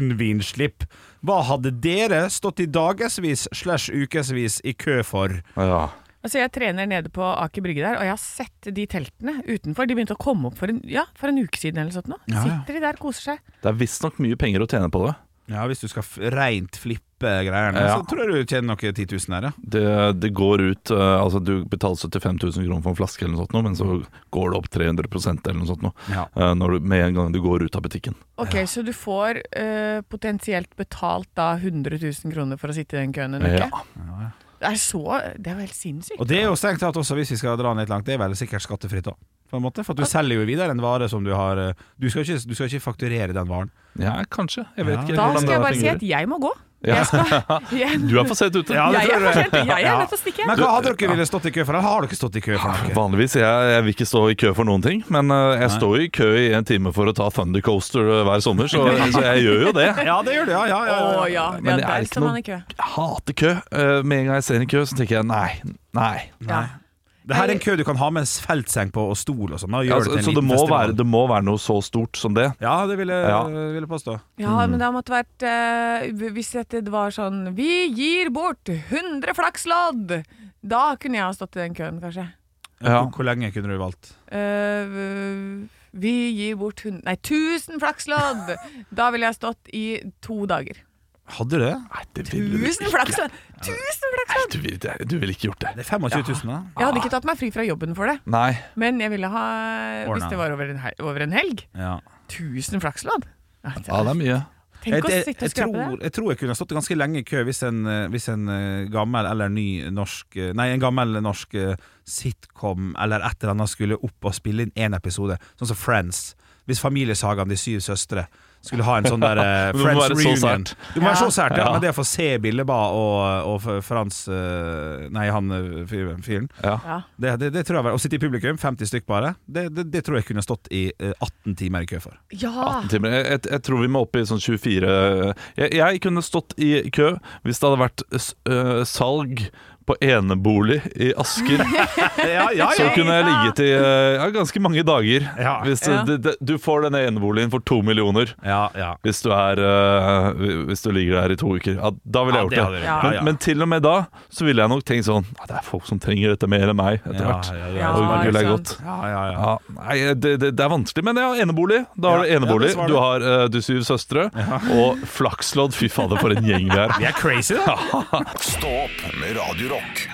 [SPEAKER 4] burgundvinslipp. Hva hadde dere stått i dagersvis slash ukersvis i kø for?
[SPEAKER 3] Ja.
[SPEAKER 2] Altså, jeg trener nede på Aker Brygge der, og jeg har sett de teltene utenfor. De begynte å komme opp for en, ja, for en uke siden eller sånt nå.
[SPEAKER 4] Ja, ja.
[SPEAKER 2] Sitter de der, koser seg.
[SPEAKER 3] Det er visstnok mye penger å tjene på det.
[SPEAKER 4] Ja, hvis du skal f- rent flippe greiene,
[SPEAKER 3] Ja.
[SPEAKER 4] så tror jeg du tjener noe 10 000 her, ja.
[SPEAKER 3] Det, det går ut eh, Altså, du betaler 75 000 kroner for en flaske eller noe sånt, nå, men så går det opp 300 eller noe sånt nå,
[SPEAKER 4] Ja.
[SPEAKER 3] eh, når du, med en gang du går ut av butikken.
[SPEAKER 2] Ok, så du får eh, potensielt betalt da 100 000 kroner for å sitte i den køen en uke?
[SPEAKER 3] Ja.
[SPEAKER 2] Det er så, det er jo helt sinnssykt.
[SPEAKER 4] Og det er jo strengt tatt også, hvis vi skal dra den litt langt, det er vel sikkert skattefritt òg. For, en måte, for at du selger jo videre en vare som du har eh, Du skal ikke, du skal ikke fakturere den varen.
[SPEAKER 3] Ja, kanskje. Jeg vet
[SPEAKER 4] Ja.
[SPEAKER 3] ikke
[SPEAKER 2] Da
[SPEAKER 3] hvordan
[SPEAKER 2] skal jeg
[SPEAKER 3] det
[SPEAKER 2] bare si
[SPEAKER 3] fungerer.
[SPEAKER 2] at jeg må gå.
[SPEAKER 3] Ja.
[SPEAKER 2] Jeg
[SPEAKER 3] <laughs>
[SPEAKER 2] skal, jeg,
[SPEAKER 3] Du er for sent ute.
[SPEAKER 4] Ja, det
[SPEAKER 2] jeg er
[SPEAKER 4] tror jeg.
[SPEAKER 2] for sent. Jeg er
[SPEAKER 4] Ja.
[SPEAKER 2] nødt til å stikke.
[SPEAKER 4] Men hva hadde dere ville stått i kø for? Eller har dere stått i kø for noe?
[SPEAKER 3] Vanligvis jeg, jeg vil ikke stå i kø for noen ting, men eh, jeg står jo i kø i en time for å ta Thunder Coaster eh, hver sommer, så, så jeg gjør jo det.
[SPEAKER 4] Ja, det gjør du, ja. ja,
[SPEAKER 2] Å
[SPEAKER 4] ja, ja.
[SPEAKER 2] ja,
[SPEAKER 3] Men
[SPEAKER 2] ja
[SPEAKER 3] det er
[SPEAKER 2] der
[SPEAKER 3] ikke
[SPEAKER 2] står man
[SPEAKER 3] noe-
[SPEAKER 2] i kø.
[SPEAKER 3] Jeg hater kø. Eh, Med en gang jeg ser en kø, så tenker jeg nei, nei.
[SPEAKER 2] Ja.
[SPEAKER 4] Det her er en kø du kan ha med feltseng på og stol og sånn. og gjøre
[SPEAKER 3] Altså,
[SPEAKER 4] til en
[SPEAKER 3] så det
[SPEAKER 4] liten
[SPEAKER 3] må,
[SPEAKER 4] festival.
[SPEAKER 3] være, det må være noe så stort som det.
[SPEAKER 4] Ja, det vil jeg,
[SPEAKER 3] Ja.
[SPEAKER 4] vil jeg påstå.
[SPEAKER 2] Ja,
[SPEAKER 3] Mm.
[SPEAKER 2] men det måtte vært eh, Hvis dette var sånn Vi gir bort 100 flakslodd! Da kunne jeg ha stått i den køen, kanskje.
[SPEAKER 3] Ja.
[SPEAKER 4] Hvor, hvor lenge kunne du valgt?
[SPEAKER 2] Eh, vi gir bort 100 Nei, 1000 flakslodd!
[SPEAKER 3] <laughs>
[SPEAKER 2] Da ville jeg stått i to dager.
[SPEAKER 4] Hadde du det?
[SPEAKER 3] Nei, det vil du
[SPEAKER 2] 1000
[SPEAKER 3] ikke.
[SPEAKER 2] flakslodd! 1000
[SPEAKER 3] Nei,
[SPEAKER 2] flakslodd!
[SPEAKER 3] du vil, det- du ville ikke gjort det.
[SPEAKER 4] Det er 25 000, da.
[SPEAKER 2] Jeg hadde ikke tatt meg fri fra jobben for det,
[SPEAKER 3] Nei.
[SPEAKER 2] men jeg ville ha Hvis
[SPEAKER 4] Ordna.
[SPEAKER 2] det var over en, hel- over en helg.
[SPEAKER 4] Ja.
[SPEAKER 2] 1000 flakslodd! Ja,
[SPEAKER 3] Ja, det er mye.
[SPEAKER 2] Tenk å
[SPEAKER 4] jeg, jeg,
[SPEAKER 2] sitte og
[SPEAKER 4] jeg,
[SPEAKER 2] skrape det.
[SPEAKER 4] tror, jeg tror jeg kunne stått ganske lenge i kø hvis en, eh, hvis en eh, gammel eller ny norsk eh, Nei, en gammel norsk eh, sitcom eller et eller annet skulle opp og spille inn én episode, sånn som Friends. Hvis familiesagaen De syv søstre skulle ha en sånn
[SPEAKER 3] <laughs>
[SPEAKER 4] der eh,
[SPEAKER 3] Det må
[SPEAKER 4] Friends
[SPEAKER 3] være så
[SPEAKER 4] reunion.
[SPEAKER 3] sært.
[SPEAKER 4] Det må være
[SPEAKER 2] Ja.
[SPEAKER 4] så sært. Ja. Men det å få se Billeba og, og Frans eh, Nei, han eh, fyren. fyren.
[SPEAKER 3] Ja.
[SPEAKER 2] Ja.
[SPEAKER 4] Det, det, det tror jeg var Å sitte i publikum, 50 stykk bare, det, det, det tror jeg kunne stått i eh, 18 timer i kø
[SPEAKER 3] <laughs>
[SPEAKER 4] for.
[SPEAKER 2] ja.
[SPEAKER 3] 18 timer. Jeg, jeg, jeg tror vi må opp i sånn 24 jeg, jeg kunne stått i kø hvis det hadde vært s- øh, salg på enebolig i Asker.
[SPEAKER 4] <laughs> Ja, ja,
[SPEAKER 3] Så kunne jeg ligget i øh, ja, ganske mange dager.
[SPEAKER 4] Ja.
[SPEAKER 3] Hvis eh,
[SPEAKER 2] Ja.
[SPEAKER 3] det, det, du får denne eneboligen for to millioner.
[SPEAKER 4] ja, ja.
[SPEAKER 3] Hvis du, er, øh, hvis du ligger der i to uker. Ja, da ville jeg
[SPEAKER 4] Ja,
[SPEAKER 3] gjort
[SPEAKER 4] det
[SPEAKER 3] det.
[SPEAKER 4] hadde jeg gjort.
[SPEAKER 3] Men,
[SPEAKER 4] Ja, ja.
[SPEAKER 3] men til og med da så ville jeg nok tenkt sånn ja, Det er folk som trenger dette mer enn meg etter hvert.
[SPEAKER 4] Ja,
[SPEAKER 2] ja,
[SPEAKER 3] Og
[SPEAKER 2] ja,
[SPEAKER 3] det er
[SPEAKER 2] ikke
[SPEAKER 3] godt.
[SPEAKER 4] Ja, ja, ja.
[SPEAKER 3] Ja, nei, det, det, det er vanskelig, men ja, enebolig. Da har
[SPEAKER 4] Ja, ja,
[SPEAKER 3] du enebolig,
[SPEAKER 4] det svarer
[SPEAKER 3] du
[SPEAKER 4] du.
[SPEAKER 3] har eh, du syv søstre, og flakslodd. Fy fader, for en gjeng vi er.
[SPEAKER 4] Vi er crazy, da. <laughs>
[SPEAKER 1] Stå opp med Radio Rock.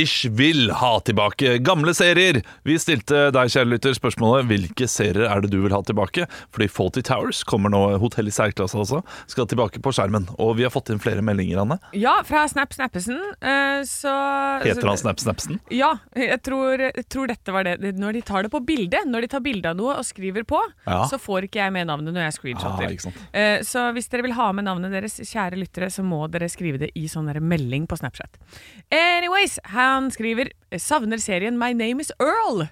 [SPEAKER 3] Ish vil ha tilbake gamle serier. Vi stilte deg, kjære lytter, spørsmålet hvilke serier er det du vil ha tilbake? Fordi Faulty Towers kommer nå, Hotell i særklasse altså, skal tilbake på skjermen. Og vi har fått inn flere meldinger, Anne.
[SPEAKER 2] Ja, fra Snap Snappesen. eh, Så
[SPEAKER 3] Heter han Snap Snapsen?
[SPEAKER 2] Ja, jeg tror, jeg tror dette var det. det. Når de tar det på bildet, når de tar bilde av noe og skriver på,
[SPEAKER 3] Ja.
[SPEAKER 2] så får ikke jeg med navnet når jeg
[SPEAKER 3] Ah,
[SPEAKER 2] screenshotter.
[SPEAKER 3] ikke sant.
[SPEAKER 2] Eh, så hvis dere vil ha med navnet deres, kjære lyttere, så må dere skrive det i sånn der melding på Snapchat. Anyways, han skriver 'Savner serien My Name Is Earl'.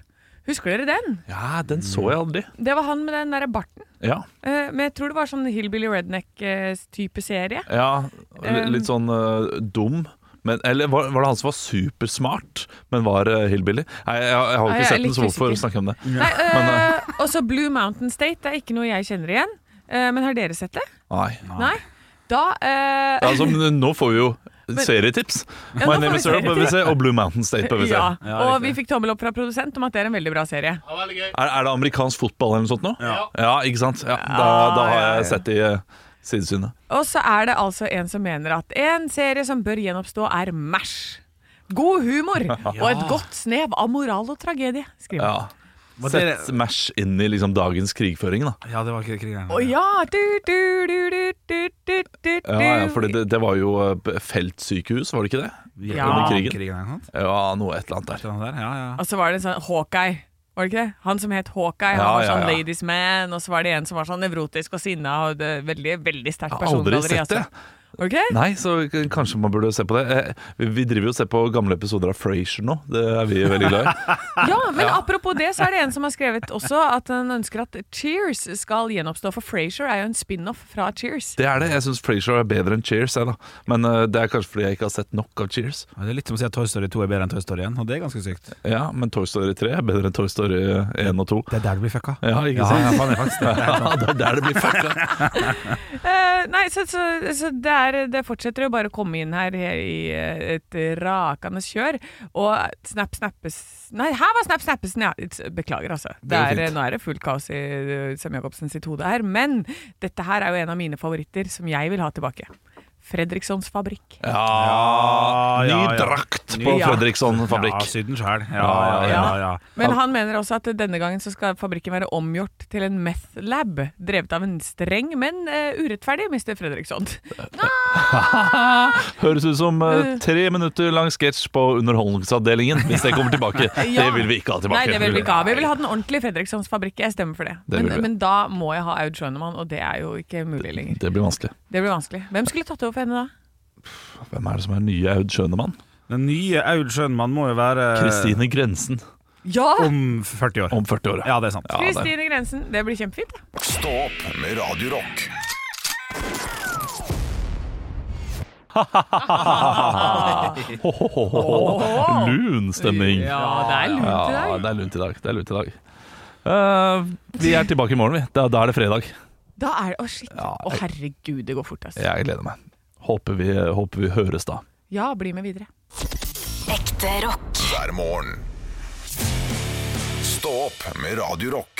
[SPEAKER 2] Husker dere den?
[SPEAKER 3] Ja, den så jeg aldri.
[SPEAKER 2] Det var han med den derre barten.
[SPEAKER 3] Ja,
[SPEAKER 2] Eh, men jeg tror det var sånn Hillbilly Redneck-type serie.
[SPEAKER 3] ja li- Litt sånn eh, dum. Men, eller var, var det han som var supersmart, men var eh, hillbilly? Nei, jeg, jeg har jo ikke
[SPEAKER 2] Nei, jeg er
[SPEAKER 3] sett den,
[SPEAKER 2] litt
[SPEAKER 3] så hvorfor
[SPEAKER 2] usikker.
[SPEAKER 3] snakke om det?
[SPEAKER 2] Nei, eh,
[SPEAKER 3] <laughs> Men,
[SPEAKER 2] også Blue Mountain State. Det er ikke noe jeg kjenner igjen. Eh, men har dere sett det?
[SPEAKER 3] Nei.
[SPEAKER 2] Nei? Da eh,
[SPEAKER 3] Altså, men nå får vi jo serietips. My
[SPEAKER 2] Ja, nå får vi
[SPEAKER 3] name is Earl på
[SPEAKER 2] serietips.
[SPEAKER 3] BBC og Blue Mountain State på BBC.
[SPEAKER 2] ja.
[SPEAKER 4] Ja,
[SPEAKER 2] Og vi fikk tommel opp fra produsent om at det er en veldig bra serie.
[SPEAKER 5] Ja, veldig gøy.
[SPEAKER 3] Er, er det amerikansk fotball eller noe sånt nå?
[SPEAKER 5] Ja.
[SPEAKER 3] ikke sant? Ja, da, da har jeg sett det i eh, sidesynet.
[SPEAKER 2] Og så er det altså en som mener at en serie som bør gjenoppstå, er MASH.
[SPEAKER 3] <laughs>
[SPEAKER 2] God humor og et godt snev av moral og tragedie, skriver
[SPEAKER 3] Ja.
[SPEAKER 2] han.
[SPEAKER 3] Sett Mash inn i liksom dagens krigføring, da.
[SPEAKER 4] Ja, det var ikke krigen.
[SPEAKER 2] Å ja! Du, du, du, du, du, du, du.
[SPEAKER 3] Ja, ja, for det, det var jo eh, feltsykehus, var det ikke det?
[SPEAKER 4] Ja,
[SPEAKER 2] Ja.
[SPEAKER 4] krigen. eller noe sånt.
[SPEAKER 3] Ja, noe et eller annet
[SPEAKER 4] Et
[SPEAKER 3] der.
[SPEAKER 4] eller annet der, Ja, ja.
[SPEAKER 2] Og så var det en sånn Hawkeye. Var det ikke det? Han som het Hawkeye,
[SPEAKER 3] Ja,
[SPEAKER 2] han var
[SPEAKER 3] ja,
[SPEAKER 2] sånn
[SPEAKER 3] ja.
[SPEAKER 2] ladies man, og så var det en som var sånn nevrotisk og sinna og det, veldig veldig sterkt
[SPEAKER 3] Jeg har aldri
[SPEAKER 2] persongalleri.
[SPEAKER 3] sett det.
[SPEAKER 2] Altså. Var det ikke det?
[SPEAKER 3] Nei, så k- kanskje man burde se på det. Eh, vi- Vi driver jo og ser på gamle episoder av Frasier nå. Det er vi veldig
[SPEAKER 2] <laughs>
[SPEAKER 3] glad i.
[SPEAKER 2] Ja, men apropos det, så er det en som har skrevet også at han ønsker at Cheers skal gjenoppstå, for Frasier er jo en spin-off fra Cheers.
[SPEAKER 3] Det er det. Jeg syns Frasier er bedre enn Cheers, jeg, da. Men eh, det er kanskje fordi jeg ikke har sett nok av Cheers.
[SPEAKER 4] Ja, Det er litt som å si at Toy Story 2 er bedre enn Toy Story 1, og det er ganske sykt.
[SPEAKER 3] Ja, men Toy Story 3 er bedre enn Toy Story 1 og
[SPEAKER 2] <laughs>
[SPEAKER 3] 2.
[SPEAKER 4] Det er der du blir fucka.
[SPEAKER 3] Ja, ikke
[SPEAKER 4] Ja, ja,
[SPEAKER 3] sant?
[SPEAKER 4] faen, det er faktisk det.
[SPEAKER 3] <laughs> Ja, det er der det blir fucka.
[SPEAKER 2] Eh, nei, så, så, så det, er, det fortsetter jo bare å komme inn her, her i eh, et rakende kjør. Og Snap Snappes Nei, her var Snap Snappesen, ja! It's- Beklager, altså. Det
[SPEAKER 3] går
[SPEAKER 2] er,
[SPEAKER 3] fint.
[SPEAKER 2] nå er det fullt kaos i eh, Sem-Jacobsen sitt hode her. Men dette her er jo en av mine favoritter som jeg vil ha tilbake. Fredrikssons fabrikk.
[SPEAKER 3] Ja, ny
[SPEAKER 4] ja, ja.
[SPEAKER 3] drakt på
[SPEAKER 2] Ja.
[SPEAKER 3] Fredriksson
[SPEAKER 4] Ja,
[SPEAKER 3] fabrikk.
[SPEAKER 4] Syden sjæl. Ja, ja, ja. ja.
[SPEAKER 2] Men han mener også at denne gangen så skal fabrikken være omgjort til en meth lab, drevet av en streng, men eh, urettferdig mister Fredriksson.
[SPEAKER 3] Høres ut som eh,
[SPEAKER 2] Mm.
[SPEAKER 3] tre minutter lang sketsj på Underholdningsavdelingen, hvis det kommer tilbake.
[SPEAKER 2] <laughs>
[SPEAKER 3] Det
[SPEAKER 2] Ja.
[SPEAKER 3] vil vi ikke ha tilbake.
[SPEAKER 2] Nei, det vil vi ikke ha. Vi vil ha den ordentlige Fredrikssons fabrikk. Jeg stemmer for det.
[SPEAKER 3] Det vil
[SPEAKER 2] men,
[SPEAKER 3] vi.
[SPEAKER 2] men da må jeg ha Aud Schønemann, og det er jo ikke mulig lenger.
[SPEAKER 3] Det blir vanskelig.
[SPEAKER 2] Det blir vanskelig. Hvem skulle tatt over for henne da?
[SPEAKER 3] Hvem er det som er nye Aud Schønemann?
[SPEAKER 4] Den nye Aud Schønmann må jo være
[SPEAKER 2] Eh.
[SPEAKER 3] Kristine Grensen
[SPEAKER 2] Ja!
[SPEAKER 4] om 40 år.
[SPEAKER 3] om 40 år.
[SPEAKER 4] Ja, det er sant.
[SPEAKER 3] Ja, det-
[SPEAKER 2] Kristine Grensen. Det blir kjempefint. da.
[SPEAKER 1] Stå opp med Radio Rock.
[SPEAKER 3] Ho, ho, ho, ho, ho. Lun stemning.
[SPEAKER 2] Ja, det er lunt i
[SPEAKER 3] Ja,
[SPEAKER 2] dag.
[SPEAKER 3] det er lunt i dag. Det er lunt i dag. Eh, vi er tilbake i morgen, vi. Da, da er det fredag.
[SPEAKER 2] Da er det Å, shit. Å, herregud, det går fort, altså.
[SPEAKER 3] Jeg gleder meg. Håper vi, håper vi høres da.
[SPEAKER 2] Ja, bli med videre.
[SPEAKER 6] Ekte rock.
[SPEAKER 1] Hver morgen. Stå opp med Radio Rock.